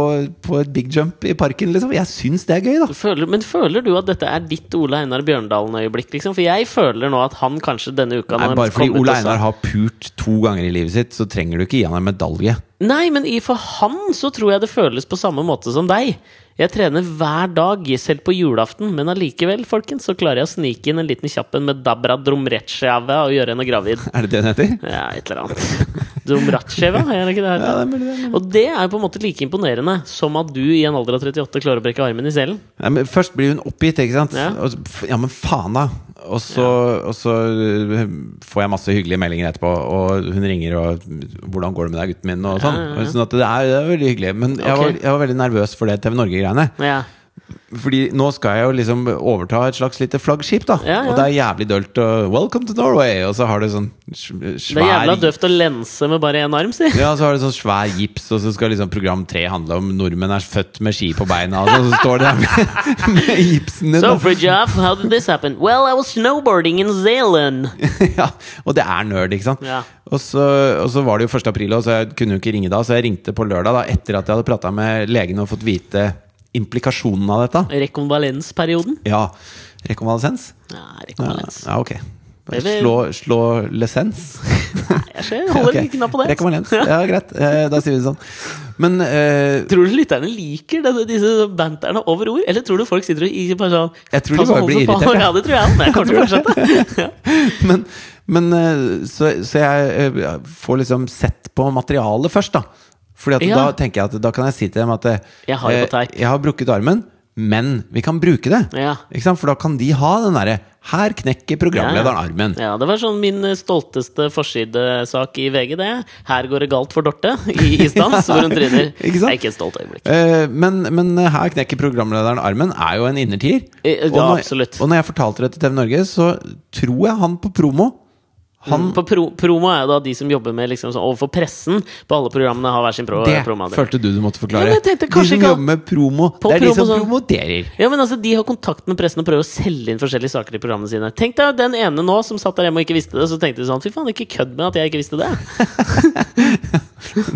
Speaker 1: på et big jump i parken. Liksom. Jeg syns det er gøy, da.
Speaker 2: Føler, men føler du at dette er ditt Ole Einar Bjørndalen-øyeblikk? Liksom? For jeg føler nå at han kanskje denne uka
Speaker 1: Nei,
Speaker 2: når han
Speaker 1: bare fordi
Speaker 2: kom ut
Speaker 1: Ole
Speaker 2: og sa-
Speaker 1: Einar har pult to ganger i livet sitt, så trenger du ikke gi han en medalje. (laughs)
Speaker 2: Nei, men i for han så tror jeg det føles på samme måte som deg. Jeg trener hver dag, selv på julaften, men allikevel, folkens, så klarer jeg å snike inn en liten kjapp en med Dabra Dromretsjeva og gjøre henne gravid.
Speaker 1: Er det det hun heter?
Speaker 2: Ja, et eller
Speaker 1: (laughs)
Speaker 2: annet. Dromretsjeva, er det ikke det?
Speaker 1: Ja, det
Speaker 2: her?
Speaker 1: er mulig, det er mulig.
Speaker 2: Og det er jo på en måte like imponerende som at du i en alder av 38 klarer å brekke armen i selen.
Speaker 1: Nei, men først blir hun oppgitt, ikke sant?
Speaker 2: Ja.
Speaker 1: Og så, f- ja, men faen, da! Og så, og så øh, får jeg masse hyggelige meldinger etterpå, og hun ringer og 'Hvordan går det med deg, gutten min?' og sånn.
Speaker 2: Ja, ja, ja.
Speaker 1: Sånn at det er, det er veldig hyggelig. Men jeg,
Speaker 2: Ok.
Speaker 1: var, jeg var veldig nervøs for det TV Norge-greiene.
Speaker 2: Ja.
Speaker 1: Fordi nå skal jeg jo liksom overta et slags lite flaggskip, da.
Speaker 2: Ja, ja.
Speaker 1: Og det er jævlig dølt og 'Welcome to Norway', og så har du sånn sv-
Speaker 2: Det er
Speaker 1: svær
Speaker 2: jævla døvt å lense med bare én arm, si.
Speaker 1: ja, så har det sånn svær gips, og så skal liksom program tre handle om nordmenn er født med ski på beina, og sånn, så står det der med, (laughs) med gipsen din. (laughs)
Speaker 2: So,
Speaker 1: da.
Speaker 2: Fridjof, how did this happen? Well, I was snowboarding in Zealand.
Speaker 1: ja, og det er nerd, ikke sant?
Speaker 2: Ja.
Speaker 1: Og, så, og så var det jo 1. april, og så jeg kunne jo ikke ringe da, så jeg ringte på lørdag da, etter at jeg hadde prata med legen og fått vite implikasjonen av dette.
Speaker 2: Rekonvalensperioden?
Speaker 1: Ja, rekonvalesens?
Speaker 2: Ja,
Speaker 1: Ja,
Speaker 2: rekonvalens.
Speaker 1: ja ok. Bare
Speaker 2: Eller-
Speaker 1: Slå, slå lesens?
Speaker 2: Jeg ser, jeg holder
Speaker 1: (laughs) Ok,
Speaker 2: ikke knapp på det. (laughs)
Speaker 1: Rekonvalens. Ja, greit. Eh, Da sier vi det sånn. Men eh,
Speaker 2: Tror du lytterne liker denne, disse banterne over ord? Eller tror du folk sitter og ikke bare sånn
Speaker 1: Jeg tror de
Speaker 2: "Faen, så
Speaker 1: bare
Speaker 2: hold
Speaker 1: blir
Speaker 2: det
Speaker 1: irritert, jeg.
Speaker 2: faen." (laughs) Ja, det tror jeg også, men jeg kommer til å fortsette.
Speaker 1: men, men eh, så, så jeg eh, jeg får liksom sett på materialet først, da. Fordi at
Speaker 2: Ja.
Speaker 1: da tenker jeg at da kan jeg si til dem at eh,
Speaker 2: Jeg har det
Speaker 1: eh,
Speaker 2: på teip.
Speaker 1: jeg har brukket armen, men vi kan bruke det.
Speaker 2: Ja.
Speaker 1: Ikke sant? For da kan de ha den derre Her knekker (laughs) programlederen armen.
Speaker 2: Ja, det var sånn min eh, stolteste forsidesak i VG, det. Her går det galt for Dorte i
Speaker 1: (laughs)
Speaker 2: isdans, hvor hun tryner.
Speaker 1: Ikke sant?
Speaker 2: Det er ikke et stolt øyeblikk.
Speaker 1: Eh, Men, men eh, her knekker programlederen armen er jo en innertier.
Speaker 2: Eh, ja,
Speaker 1: og, når,
Speaker 2: absolutt.
Speaker 1: og når jeg fortalte det til TV Norge, så tror jeg han på promo han,
Speaker 2: Mm, På pro promo er jo da de som jobber med liksom sånn overfor pressen. På alle programmene har hver sin pro
Speaker 1: Det
Speaker 2: promoavdeling.
Speaker 1: følte du du måtte
Speaker 2: Ja,
Speaker 1: forklare.
Speaker 2: men jeg tenkte
Speaker 1: de
Speaker 2: kanskje
Speaker 1: som
Speaker 2: ikke-
Speaker 1: jobber med promo,
Speaker 2: På
Speaker 1: det er de
Speaker 2: promo
Speaker 1: som
Speaker 2: sånn.
Speaker 1: promoterer. (laughs)
Speaker 2: Ja, men altså, De har kontakt med pressen og prøver å selge inn forskjellige saker i programmene sine. Tenk deg den ene nå som satt der hjemme og ikke visste det, så tenkte de sånn Fy faen, ikke kødd med at jeg ikke visste det. (laughs)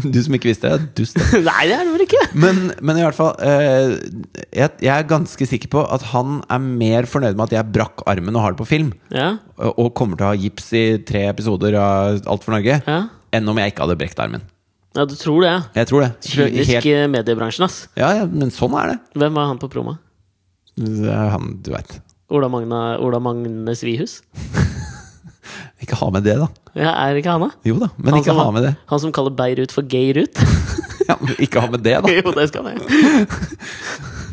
Speaker 1: Du som ikke visste det, dust. da.
Speaker 2: Nei, det er det vel ikke.
Speaker 1: Men, men i hvert fall, eh, jeg, jeg er ganske sikker på at han er mer fornøyd med at jeg brakk armen og har det på film,
Speaker 2: Ja,
Speaker 1: og og kommer til å ha gips i tre episoder av Alt for Norge,
Speaker 2: ja.
Speaker 1: enn om jeg ikke hadde brekt armen.
Speaker 2: ja du tror det. ja.
Speaker 1: Jeg tror det. Så
Speaker 2: Kynisk
Speaker 1: Helt,
Speaker 2: eh, mediebransjen, ass.
Speaker 1: ja, ja, men sånn er det.
Speaker 2: Hvem var han på promo?
Speaker 1: det er han, du veit.
Speaker 2: Ola, Magna, Ola Magne Svihus?
Speaker 1: Ikke ha med det, da.
Speaker 2: Ja, er det ikke han, da?
Speaker 1: Jo da, men
Speaker 2: Han
Speaker 1: ikke
Speaker 2: som
Speaker 1: ha
Speaker 2: var-
Speaker 1: med det.
Speaker 2: Han som kaller Beirut for Geirut?
Speaker 1: Ja, men ikke ha med det, da.
Speaker 2: (laughs) jo, det skal han ja.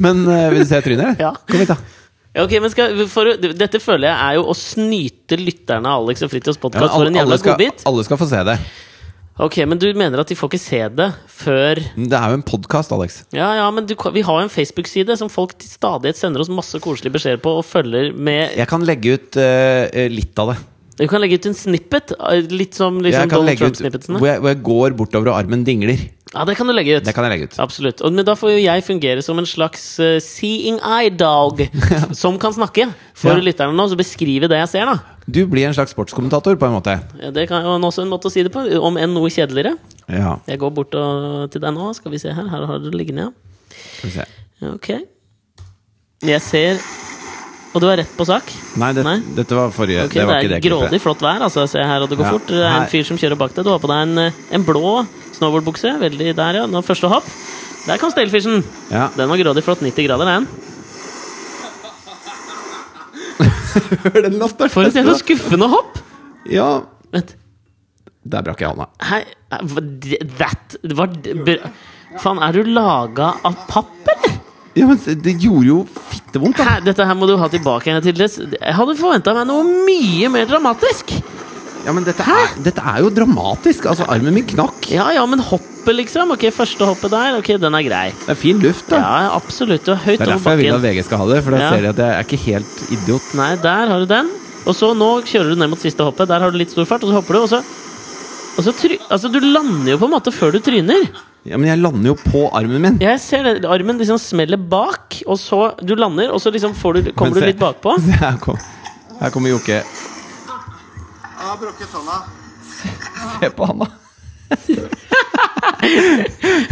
Speaker 1: Men eh, vil du se trynet?
Speaker 2: Ja.
Speaker 1: Kom hit, da.
Speaker 2: Ja, Ok, men skal, for, å- Dette føler jeg er jo å snyte lytterne av Alex og Fritjofs
Speaker 1: Ja, men
Speaker 2: podkast for
Speaker 1: alle-
Speaker 2: en
Speaker 1: alle,
Speaker 2: jævla
Speaker 1: skal,
Speaker 2: godbit.
Speaker 1: alle skal få se det.
Speaker 2: Ok, men du mener at de får ikke se det før
Speaker 1: Det er jo en podkast, Alex.
Speaker 2: Ja, ja, men du, vi har jo en Facebook-side som folk til stadighet sender oss masse koselige beskjeder på og følger med
Speaker 1: Jeg kan legge ut eh, litt av det.
Speaker 2: Du kan legge ut en snippet, eh, litt som
Speaker 1: Jeg
Speaker 2: liksom
Speaker 1: kan
Speaker 2: Donald
Speaker 1: legge ut
Speaker 2: Trump-snippetsene.
Speaker 1: hvor jeg, hvor jeg går bortover og armen dingler.
Speaker 2: Ja, det kan du legge ut.
Speaker 1: Det kan jeg legge ut.
Speaker 2: Absolutt. Og, men da får jo jeg fungere som en slags eh, seeing eye
Speaker 1: (laughs)
Speaker 2: dog som kan snakke for
Speaker 1: Ja.
Speaker 2: lytterne nå, så beskrive det jeg ser, da.
Speaker 1: Du blir en slags sportskommentator, på en måte.
Speaker 2: Ja, Det kan jo også en måte å si det på, om enn noe kjedeligere.
Speaker 1: Ja,
Speaker 2: Jeg går bort og, til deg nå, skal vi se her. Her har du det liggende, ja.
Speaker 1: skal vi se.
Speaker 2: Ja, Ok. Jeg ser Og du har rett på sak?
Speaker 1: Nei, det,
Speaker 2: Nei?
Speaker 1: dette var forrige.
Speaker 2: Ok,
Speaker 1: det var
Speaker 2: det, er
Speaker 1: ikke det
Speaker 2: grådig flott vær. altså, Se her, og det går
Speaker 1: Ja,
Speaker 2: fort. Det er
Speaker 1: her-
Speaker 2: en fyr som kjører bak deg. Du har på deg en, eh, en blå snowboardbukse. Veldig der, ja. Nå første hopp. Der kom Stelfishen! (laughs)
Speaker 1: Ja.
Speaker 2: Den var grådig flott. 90 grader, den.
Speaker 1: (laughs) Hør den latteren!
Speaker 2: For et jævla skuffende hopp!
Speaker 1: Ja,
Speaker 2: Vent.
Speaker 1: der brakk jeg hånda.
Speaker 2: Hei, eh, hva- det- that var det- br- Faen, er du laga av papp, eller?
Speaker 1: Ja, men det gjorde jo fittevondt, da.
Speaker 2: Hæ, dette her må du ha tilbake igjen til det. Jeg hadde forventa meg noe mye mer dramatisk!
Speaker 1: Ja, men dette er, dette er jo dramatisk. Altså, armen min knakk.
Speaker 2: Ja ja, men hoppet, liksom. Ok, første hoppet der. Ok, den er grei.
Speaker 1: Det er fin luft, da.
Speaker 2: Ja, absolutt. Du er høyt
Speaker 1: Det er
Speaker 2: over
Speaker 1: derfor jeg vil at
Speaker 2: bakken.
Speaker 1: VG skal ha det, for da
Speaker 2: Ja.
Speaker 1: ser de at jeg er ikke helt idiot.
Speaker 2: Nei, der har du den. Og så nå kjører du ned mot siste hoppet. Der har du litt stor fart, og så hopper du, og så og så try altså, Du lander jo på en måte før du tryner.
Speaker 1: Ja, Men jeg lander jo på armen min.
Speaker 2: Jeg ser det, Armen liksom smeller bak, og så du lander, og så liksom får du, kommer
Speaker 1: Men se-
Speaker 2: du litt bakpå.
Speaker 1: se, (laughs) Her, kom, her kommer Jokke.
Speaker 3: Jeg har brukket hånda.
Speaker 1: Se på han, da.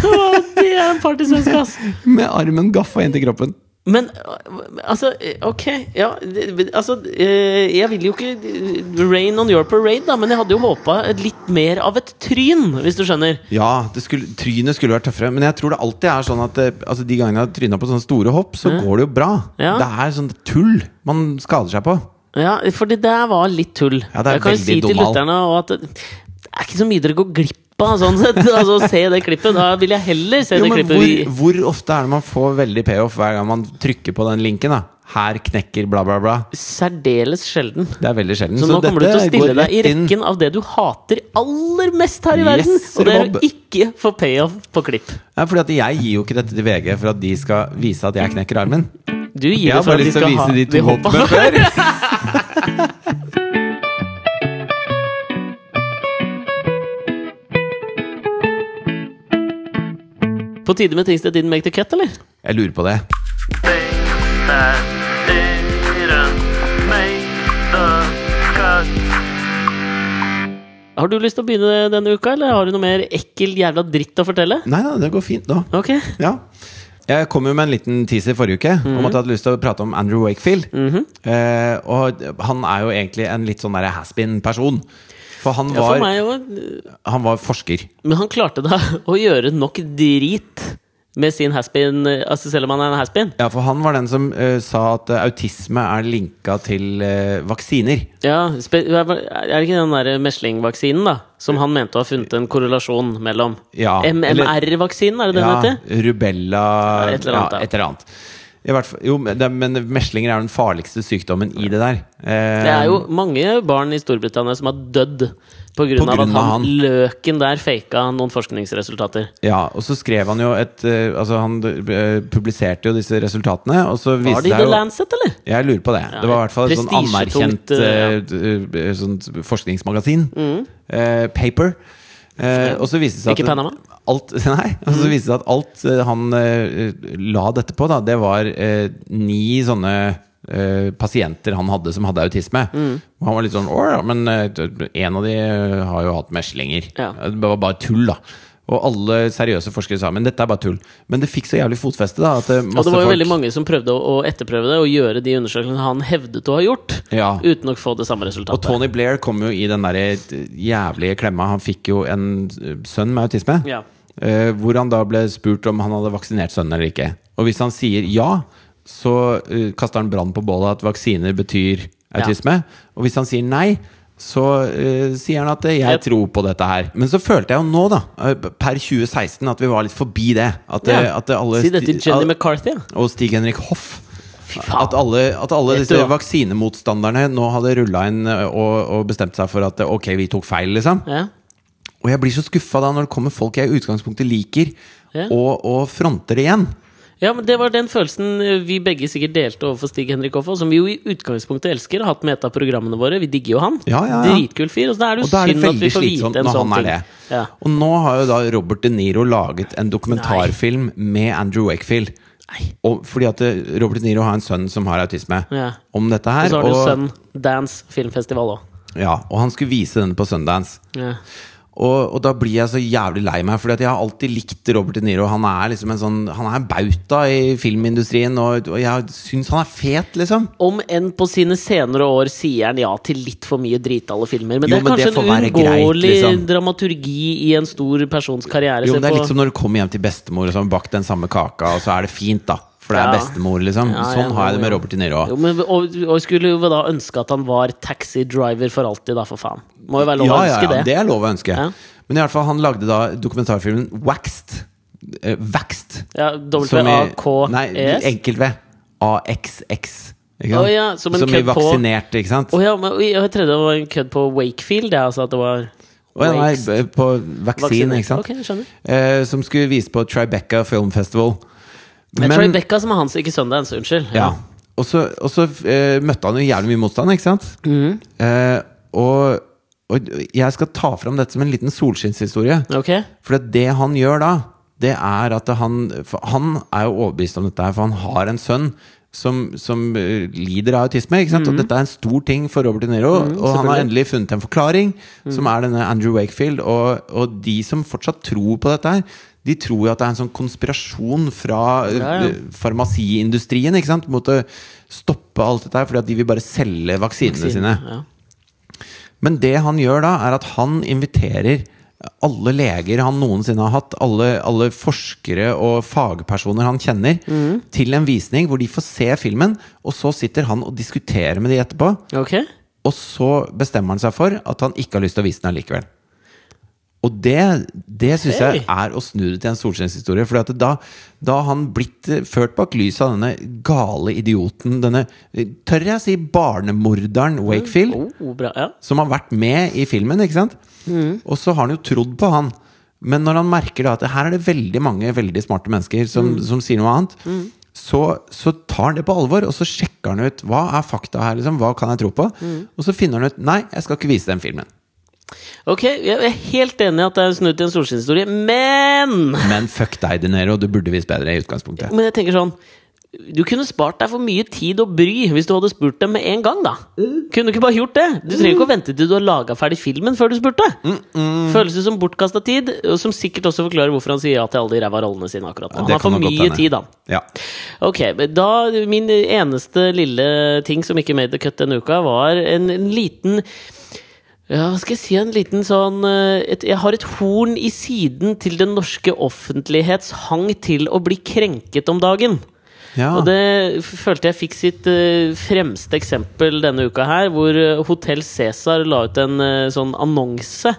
Speaker 2: Å, det er en partysvensk, ass!
Speaker 1: Med armen gaffa inntil kroppen.
Speaker 2: Men øh, altså, øh, ok Ja, det- det- altså øh, Jeg vil jo ikke øh, rain on your parade, da, men jeg hadde jo håpa litt mer av et tryn, hvis du skjønner.
Speaker 1: Ja, det skulle, trynet skulle vært tøffere. Men jeg tror det alltid er sånn at eh, altså, de gangene jeg har tryna på sånne store hopp, så går det jo bra.
Speaker 2: Ja.
Speaker 1: Det er sånn tull man skader seg på.
Speaker 2: Ja, for det der var litt tull.
Speaker 1: Ja, det er
Speaker 2: jeg kan jo
Speaker 1: veldig
Speaker 2: si til
Speaker 1: domal.
Speaker 2: lytterne og at det det er ikke så mye dere går glipp av, sånn sett. (laughs) Altså, å se det klippet. Da vil jeg heller se
Speaker 1: Jo,
Speaker 2: det
Speaker 1: men
Speaker 2: klippet.
Speaker 1: hvor,
Speaker 2: vi-
Speaker 1: hvor ofte er det man får veldig payoff hver gang man trykker på den linken? da? Her knekker bla, bla, bla.
Speaker 2: Særdeles sjelden.
Speaker 1: Det er veldig sjelden.
Speaker 2: Så, nå kommer du til å
Speaker 1: dette
Speaker 2: stille
Speaker 1: går
Speaker 2: deg i
Speaker 1: rett inn.
Speaker 2: rekken av det du hater aller mest her i
Speaker 1: Yes,
Speaker 2: verden. Og det er å
Speaker 1: Bob.
Speaker 2: ikke få payoff på klipp.
Speaker 1: Nei, fordi at jeg gir jo ikke dette til VG for at de skal vise at jeg knekker armen.
Speaker 2: Du gir
Speaker 1: Jeg
Speaker 2: det
Speaker 1: har
Speaker 2: for at
Speaker 1: bare
Speaker 2: de
Speaker 1: lyst til å
Speaker 2: skal ha
Speaker 1: vise de
Speaker 2: de
Speaker 1: to
Speaker 2: hoppa.
Speaker 1: hoppene før.
Speaker 2: (laughs) På tide med Things That Didn't Make The Cut, eller?
Speaker 1: Jeg lurer på det.
Speaker 4: things that didn't make the cut.
Speaker 2: Har du lyst til å begynne denne uka, eller har du noe mer ekkel jævla dritt å fortelle?
Speaker 1: Nei da, det går fint nå.
Speaker 2: Ok.
Speaker 1: Ja. Jeg kom jo med en liten teaser forrige uke om at jeg hadde lyst til å prate om Andrew Wakefield.
Speaker 2: Mhm.
Speaker 1: eh, og han er jo egentlig en litt sånn derre has-been-person. For han
Speaker 2: Ja,
Speaker 1: var,
Speaker 2: for meg òg.
Speaker 1: han var forsker.
Speaker 2: Men han klarte da (laughs) å gjøre nok drit med sin haspin, altså selv om han er en haspin.
Speaker 1: Ja, for han var den som eh, sa at eh, autisme er linka til eh, vaksiner.
Speaker 2: Ja, spe er det ikke den der meslingvaksinen, da? Som han mente å ha funnet en korrelasjon mellom?
Speaker 1: Ja,
Speaker 2: MMR-vaksinen, er det den heter?
Speaker 1: rubella
Speaker 2: Ja, et eller annet,
Speaker 1: ja,
Speaker 2: ja.
Speaker 1: et eller annet. I hvert fall, jo, men det, men meslinger er jo den farligste sykdommen i det der. Eh,
Speaker 2: Det er jo mange barn i Storbritannia som har dødd pga.
Speaker 1: På
Speaker 2: at
Speaker 1: grunn
Speaker 2: han,
Speaker 1: av han.
Speaker 2: løken der faka noen forskningsresultater.
Speaker 1: Ja, og så skrev han jo et eh, Altså, han eh, publiserte jo disse resultatene, og så
Speaker 2: Var
Speaker 1: viste
Speaker 2: det i
Speaker 1: seg
Speaker 2: The
Speaker 1: jo
Speaker 2: Lancet, eller?
Speaker 1: Jeg lurer på det.
Speaker 2: Ja,
Speaker 1: det var i hvert fall et sånn
Speaker 2: prestisjetungt, Mm.
Speaker 1: anerkjent eh, d- eh, sånt forskningsmagasin. Eh, paper. Eh, og så viste det seg
Speaker 2: Ikke
Speaker 1: at
Speaker 2: Panama?
Speaker 1: alt, (laughs) Nei. Og
Speaker 2: Mm.
Speaker 1: så viste det seg at alt eh, han eh, la dette på, da, det var eh, ni sånne eh, pasienter han hadde som hadde autisme.
Speaker 2: Mm.
Speaker 1: Og han var litt sånn Å ja, men eh, en av de eh, har jo hatt meslinger.
Speaker 2: Ja.
Speaker 1: Det var bare tull, da. Og alle seriøse forskere sa men dette er bare tull. Men det fikk så jævlig fotfeste, da. At eh, masse
Speaker 2: Og det var jo
Speaker 1: folk
Speaker 2: veldig mange som prøvde å, å etterprøve det og gjøre de undersøkelsene han hevdet å ha gjort,
Speaker 1: Ja.
Speaker 2: uten å få det samme
Speaker 1: Og
Speaker 2: resultatet.
Speaker 1: Tony Blair kom jo i den der jævlige klemma. Han fikk jo en eh, sønn med autisme.
Speaker 2: Ja.
Speaker 1: Eh, hvor han da ble spurt om han hadde vaksinert sønnen eller ikke. Og hvis han sier ja, så eh, kaster han brann på bålet at vaksiner betyr autisme. Og hvis han sier nei, så eh, sier han at eh, jeg
Speaker 2: Jeg-
Speaker 1: tror på dette her. Men så følte jeg jo nå, da, eh, per 2016, at vi var litt forbi det. At, eh,
Speaker 2: Ja.
Speaker 1: at alle
Speaker 2: Si det til Jenny
Speaker 1: al-
Speaker 2: McCarthy. ja.
Speaker 1: og Stig-Henrik Hoff.
Speaker 2: faen.
Speaker 1: At alle, at alle
Speaker 2: Vet
Speaker 1: disse
Speaker 2: du hva?
Speaker 1: vaksinemotstanderne nå hadde rulla inn ø, og, og bestemt seg for at ø, ok, vi tok feil, liksom.
Speaker 2: Ja.
Speaker 1: Og jeg blir så skuffa da når det kommer folk jeg i utgangspunktet liker,
Speaker 2: Ja.
Speaker 1: og, og fronter igjen.
Speaker 2: ja, men Det var den følelsen eh, vi begge sikkert delte overfor Stig Henrik Hoffa, som vi jo i utgangspunktet elsker, har hatt med et av programmene våre. Vi digger jo han.
Speaker 1: Ja, ja, ja.
Speaker 2: Dritkul fyr. Og så er det jo
Speaker 1: Og da er det
Speaker 2: synd at vi
Speaker 1: veldig
Speaker 2: får vite
Speaker 1: slitsomt
Speaker 2: en
Speaker 1: når han
Speaker 2: sånn
Speaker 1: er
Speaker 2: ting.
Speaker 1: det.
Speaker 2: Ja.
Speaker 1: Og nå har jo da Robert De Niro laget en dokumentarfilm med Andrew Wakefield.
Speaker 2: Nei.
Speaker 1: Og fordi at ø, Robert De Niro har en sønn som har autisme.
Speaker 2: Ja.
Speaker 1: Om dette
Speaker 2: Og
Speaker 1: her.
Speaker 2: så har du jo Sun Dance Filmfestival òg.
Speaker 1: ja, og han skulle vise den på Sundance.
Speaker 2: Ja.
Speaker 1: Og, og da blir jeg så jævlig lei meg, for jeg har alltid likt Robert De Niro. Han er liksom en sånn Han er en bauta i filmindustrien, og, og jeg syns han er fet, liksom.
Speaker 2: Om enn på sine senere år sier han ja til litt for mye dritale filmer. Men
Speaker 1: Jo,
Speaker 2: det er
Speaker 1: men det
Speaker 2: kanskje
Speaker 1: får være
Speaker 2: en
Speaker 1: greit,
Speaker 2: uunngåelig
Speaker 1: liksom.
Speaker 2: dramaturgi i en stor persons karriere.
Speaker 1: Jo,
Speaker 2: Se
Speaker 1: men Det er
Speaker 2: på-
Speaker 1: litt som når du kommer hjem til bestemor og så har hun bakt den samme kaka, og så er det fint, da. For det er
Speaker 2: Ja.
Speaker 1: bestemor, liksom.
Speaker 2: Ja,
Speaker 1: sånn
Speaker 2: ja,
Speaker 1: har jeg det med
Speaker 2: ja.
Speaker 1: Robert De Niro
Speaker 2: Jo,
Speaker 1: òg.
Speaker 2: men, og, og skulle jo da ønske at han var taxidriver for alltid, da, for faen. Må jo være lov
Speaker 1: Ja,
Speaker 2: å
Speaker 1: ja,
Speaker 2: ønske
Speaker 1: ja,
Speaker 2: det.
Speaker 1: det er lov å ønske.
Speaker 2: Ja.
Speaker 1: Men i hvert fall, han lagde da dokumentarfilmen Waxed. eh, vekst.
Speaker 2: Ja,
Speaker 1: Som i-
Speaker 2: E
Speaker 1: Nei,
Speaker 2: W-A-K-E-S.
Speaker 1: enkelt-V. AXX. Ikke sant?
Speaker 2: Å ja, som en
Speaker 1: som i
Speaker 2: kødd på-
Speaker 1: vaksinert, ikke sant?
Speaker 2: Å ja, men og jeg trodde det var en kødd på Wakefield, jeg, altså at det var
Speaker 1: Å ja, nei,
Speaker 2: Wakes-
Speaker 1: b- på vaksin, ikke sant?
Speaker 2: Ok, skjønner.
Speaker 1: Eh, som skulle vise på Tribeca Film Festival.
Speaker 2: Men, Tribeca som er hans, ikke Sundance. Unnskyld.
Speaker 1: Ja. Og så, og så eh, møtte han jo jævlig mye motstand, ikke sant?
Speaker 2: Mhm.
Speaker 1: Eh, og, og jeg skal ta fram dette som en liten solskinnshistorie.
Speaker 2: Ok?
Speaker 1: For at det han gjør da, det er at han for Han er jo overbevist om dette, her, for han har en sønn som, som eh, lider av autisme. Ikke sant?
Speaker 2: Mhm.
Speaker 1: Og dette er en stor ting for Robert De Niro. og han har endelig funnet en forklaring,
Speaker 2: Mhm.
Speaker 1: som er denne Andrew Wakefield. Og, og de som fortsatt tror på dette her, de tror jo at det er en sånn konspirasjon fra eh,
Speaker 2: Ja, ja.
Speaker 1: farmasiindustrien ikke sant? mot å stoppe alt dette her, fordi at de vil bare selge vaksinene sine.
Speaker 2: Ja.
Speaker 1: Men det han gjør da, er at han inviterer alle leger han noensinne har hatt, alle, alle forskere og fagpersoner han kjenner, til en visning hvor de får se filmen, og så sitter han og diskuterer med de etterpå.
Speaker 2: Ok?
Speaker 1: Og så bestemmer han seg for at han ikke har lyst til å vise den allikevel. Og det, det syns jeg
Speaker 2: Hey.
Speaker 1: er å snu det til en solskinnshistorie. For da, da har han blitt eh, ført bak lyset av denne gale idioten, denne, eh, tør jeg si, barnemorderen Wakefield
Speaker 2: Oh, bra. Ja.
Speaker 1: som har vært med i filmen, ikke sant?
Speaker 2: Mm.
Speaker 1: Og så har han jo trodd på han. Men når han merker da at her er det veldig mange veldig smarte mennesker som,
Speaker 2: Mm.
Speaker 1: som sier noe annet, så, så tar han det på alvor, og så sjekker han ut hva er fakta her, liksom, hva kan jeg tro på?
Speaker 2: Mm.
Speaker 1: Og så finner han ut nei, jeg skal ikke vise den filmen.
Speaker 2: Ok, jeg er helt enig i at det er snudd til en solskinnshistorie, men
Speaker 1: Men fuck deg, De Niro, du burde visst bedre i utgangspunktet.
Speaker 2: Men jeg tenker sånn Du kunne spart deg for mye tid og bry hvis du hadde spurt dem med en gang, da. Kunne du ikke bare gjort det? Du trenger ikke å vente til du har laga ferdig filmen før du spurte. Føles det som bortkasta tid, og som sikkert også forklarer hvorfor han sier ja til alle de ræva rollene sine akkurat nå. Han
Speaker 1: Det
Speaker 2: har
Speaker 1: kan
Speaker 2: for
Speaker 1: nok godt
Speaker 2: mye
Speaker 1: hende.
Speaker 2: tid, han.
Speaker 1: Ja.
Speaker 2: Ok, men da Min eneste lille ting som ikke made the cut denne uka, var en, en liten ja, hva skal jeg si, en liten sånn eh, et, Jeg har et horn i siden til den norske offentlighets hang til å bli krenket om dagen.
Speaker 1: Ja.
Speaker 2: Og det f- følte jeg fikk sitt eh, fremste eksempel denne uka her, hvor uh, Hotell Cæsar la ut en eh, sånn annonse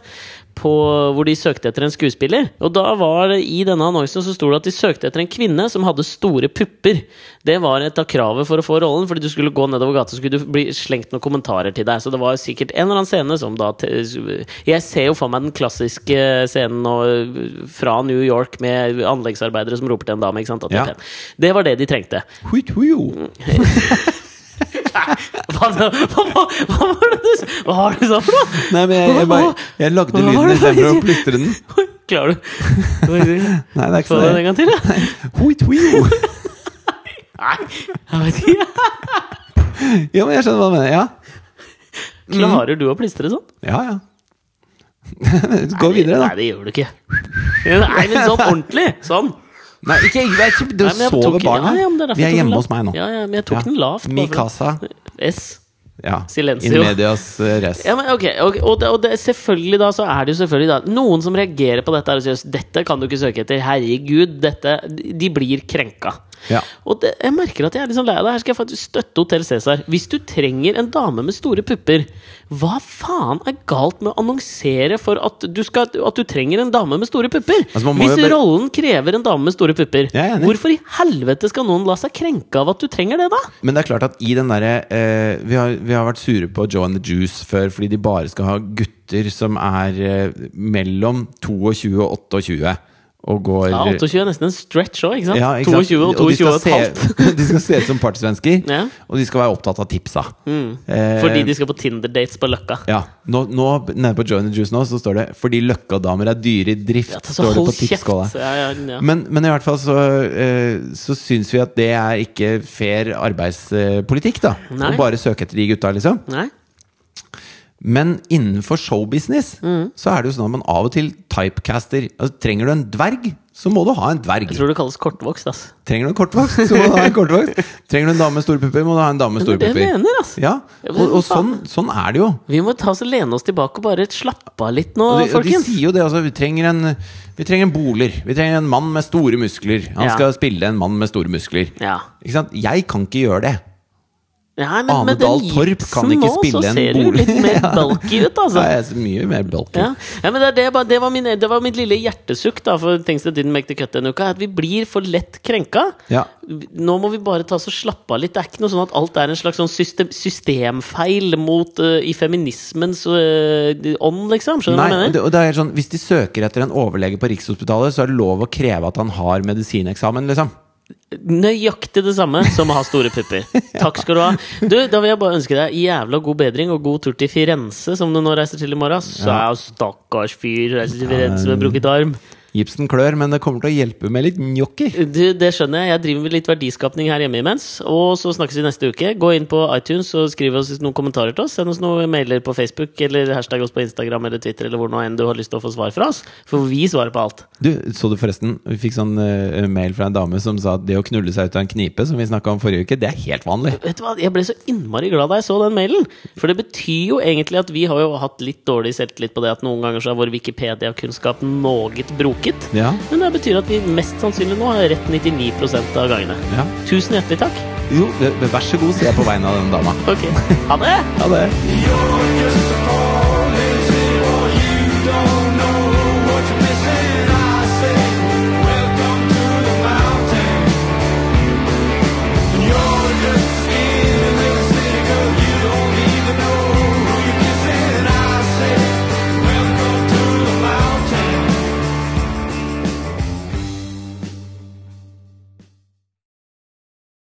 Speaker 2: på, hvor de søkte etter en skuespiller. Og da var det i denne annonsen så sto det at de søkte etter en kvinne som hadde store pupper. Det var et av kravet for å få rollen, fordi du skulle gå nedover gata så skulle du bli slengt noen kommentarer til deg. Så det var sikkert en eller annen scene som da t- Jeg ser jo for meg den klassiske scenen nå, eh, fra New York med anleggsarbeidere som roper til en dame. ikke sant? At det,
Speaker 1: Ja.
Speaker 2: er pen. det var det de
Speaker 1: (laughs)
Speaker 2: trengte.
Speaker 1: Hui, hui, jo.
Speaker 2: Hva, hva, hva, hva var det du s- Hva var det du sa for noe?
Speaker 1: Nei, men jeg, jeg, bare, jeg lagde
Speaker 2: Hva var
Speaker 1: lyden
Speaker 2: det du
Speaker 1: istedenfor å
Speaker 2: sier?
Speaker 1: plystre den.
Speaker 2: Klarer du Hva var det du sa?
Speaker 1: Nei, det er ikke
Speaker 2: Få den en
Speaker 1: sånn.
Speaker 2: gang til, da?
Speaker 1: Hui, hui, jo. (laughs)
Speaker 2: Nei, jeg vet ikke.
Speaker 1: Ja, men jeg skjønner hva du mener. Ja, Mm.
Speaker 2: Klarer du å plystre sånn?
Speaker 1: ja. (laughs) ja. Gå videre, da.
Speaker 2: Nei, det gjør du ikke. Nei, men sånn ordentlig. Sånn.
Speaker 1: Nei, ikke ikke- jeg, Du
Speaker 2: Nei, men jeg
Speaker 1: sover
Speaker 2: tok-
Speaker 1: barna.
Speaker 2: Ja, ja, men det er derfor
Speaker 1: Vi er
Speaker 2: jeg tok den
Speaker 1: hjemme
Speaker 2: lavt.
Speaker 1: hos meg nå.
Speaker 2: Ja, ja, men jeg tok den lavt.
Speaker 1: Mi
Speaker 2: bare for-
Speaker 1: casa.
Speaker 2: S.
Speaker 1: Ja.
Speaker 2: Silencio.
Speaker 1: In medias eh, res.
Speaker 2: Ja, men ok, ok, Og, det, og det, selvfølgelig da, så er det jo selvfølgelig da noen som reagerer på dette her og sier dette kan du ikke søke etter. Herregud, dette De blir krenka.
Speaker 1: Ja.
Speaker 2: Og det, jeg merker at jeg er litt sånn lei av det. Her skal jeg faktisk støtte Hotell Cæsar. Hvis du trenger en dame med store pupper, hva faen er galt med å annonsere for at du, skal, at du trenger en dame med store pupper?
Speaker 1: Altså, man må
Speaker 2: Hvis
Speaker 1: jo bare-
Speaker 2: rollen krever en dame med store pupper,
Speaker 1: Jeg er enig.
Speaker 2: hvorfor i helvete skal noen la seg krenke av at du trenger det, da?
Speaker 1: Men det er klart at i den derre eh, vi, har- vi har vært sure på Joe and the Juice før fordi de bare skal ha gutter som er eh, mellom 22 og 28 og går
Speaker 2: Ja, 28 er nesten en stretch òg, ikke sant?
Speaker 1: Ja, ikke sant?
Speaker 2: 22 og
Speaker 1: de
Speaker 2: 22
Speaker 1: skal
Speaker 2: og et halvt.
Speaker 1: se- (laughs) De skal se ut som partysvensker,
Speaker 2: Ja. Mm.
Speaker 1: og de skal være opptatt av tipsa. Eh,
Speaker 2: Fordi de skal på Tinder-dates på Løkka.
Speaker 1: ja, nå, nå, nede på Join the Juice nå, så står det 'fordi løkkadamer er dyre i drift'.
Speaker 2: Ja, ta- så
Speaker 1: står det
Speaker 2: hold
Speaker 1: på tipsskåla.
Speaker 2: kjeft! altså. Ja, ja, ja.
Speaker 1: Men, men i hvert fall så, eh, så syns vi at det er ikke fair arbeidspolitikk, da.
Speaker 2: Nei.
Speaker 1: Å bare søke etter de gutta, liksom.
Speaker 2: Nei?
Speaker 1: Men innenfor showbusiness
Speaker 2: Mm.
Speaker 1: så er det jo sånn at man av og til typecaster. Altså, trenger du en dverg, så må du ha en dverg.
Speaker 2: Jeg tror det kalles kortvokst, ass.
Speaker 1: Trenger du en kortvokst, så må du ha en
Speaker 2: (laughs)
Speaker 1: kortvokst. Trenger du en dame med store pupper, må du ha en dame med
Speaker 2: Det
Speaker 1: store
Speaker 2: er det
Speaker 1: pupper.
Speaker 2: jeg mener, ass.
Speaker 1: Ja,
Speaker 2: Ja, men
Speaker 1: Og, og sånn,
Speaker 2: faen.
Speaker 1: sånn er det jo.
Speaker 2: Vi må ta oss og lene oss tilbake og bare slappe av litt nå,
Speaker 1: Og de, og de
Speaker 2: folkens.
Speaker 1: sier jo det, altså. Vi trenger, en, vi trenger en boler. Vi trenger en mann med store muskler. Han
Speaker 2: Ja.
Speaker 1: skal spille en mann med store muskler.
Speaker 2: Ja.
Speaker 1: Ikke sant? Jeg kan ikke gjøre det.
Speaker 2: Nei, men med
Speaker 1: Anedal
Speaker 2: den
Speaker 1: Torp kan
Speaker 2: gipsen
Speaker 1: ikke
Speaker 2: nå, så
Speaker 1: spille
Speaker 2: ser
Speaker 1: en
Speaker 2: du
Speaker 1: bolig.
Speaker 2: litt mer
Speaker 1: (laughs) Ja.
Speaker 2: bulky ut, altså.
Speaker 1: Nei, jeg er mye mer bulky.
Speaker 2: Ja. ja, men det, er det, bare- det, var min, det var mitt lille hjertesukk da for Things That Didn't Make The Cut denne uka. At vi blir for lett krenka.
Speaker 1: Ja.
Speaker 2: Nå må vi bare ta oss og slappe av litt. Det er ikke noe sånn at alt er en slags sånn system, systemfeil mot, eh, i feminismens eh, ånd, liksom. Skjønner du
Speaker 1: Nei,
Speaker 2: hva jeg
Speaker 1: det,
Speaker 2: mener?
Speaker 1: og det er helt sånn, hvis de søker etter en overlege på Rikshospitalet, så er det lov å kreve at han har medisineksamen, liksom.
Speaker 2: Nøyaktig det samme som å ha store
Speaker 1: (laughs)
Speaker 2: pupper. Takk skal du ha. Du, Da vil jeg bare ønske deg jævla god bedring og god tur til Firenze, som du nå reiser til i morgen. Så er jo stakkars fyr reiser til Firenze med brukket arm.
Speaker 1: Gipsen klør, men det kommer til å hjelpe med litt gnocchi.
Speaker 2: Du, det skjønner jeg. Jeg driver med litt verdiskapning her hjemme imens. Og så snakkes vi neste uke. Gå inn på iTunes og skriv oss noen kommentarer til oss. Send oss noen mailer på Facebook eller hashtag oss på Instagram eller Twitter eller hvor nå enn du har lyst til å få svar fra oss. For vi svarer på alt.
Speaker 1: Du, så du forresten, vi fikk sånn eh, mail fra en dame som sa at det å knulle seg ut av en knipe, som vi snakka om forrige uke, det er helt vanlig.
Speaker 2: Vet du hva, Jeg ble så innmari glad da jeg så den mailen. For det betyr jo egentlig at vi har jo hatt litt dårlig selvtillit på det at noen ganger så er vår Wikipedia-kunnskap noe broket.
Speaker 1: Ja,
Speaker 2: Men det betyr at vi mest sannsynlig nå har rett 99 av gangene.
Speaker 1: ja.
Speaker 2: Tusen hjertelig takk.
Speaker 1: Jo, eh, vær så god, sier jeg på vegne av den dama.
Speaker 2: Ok, ha det!
Speaker 1: Ha det.
Speaker 4: You're just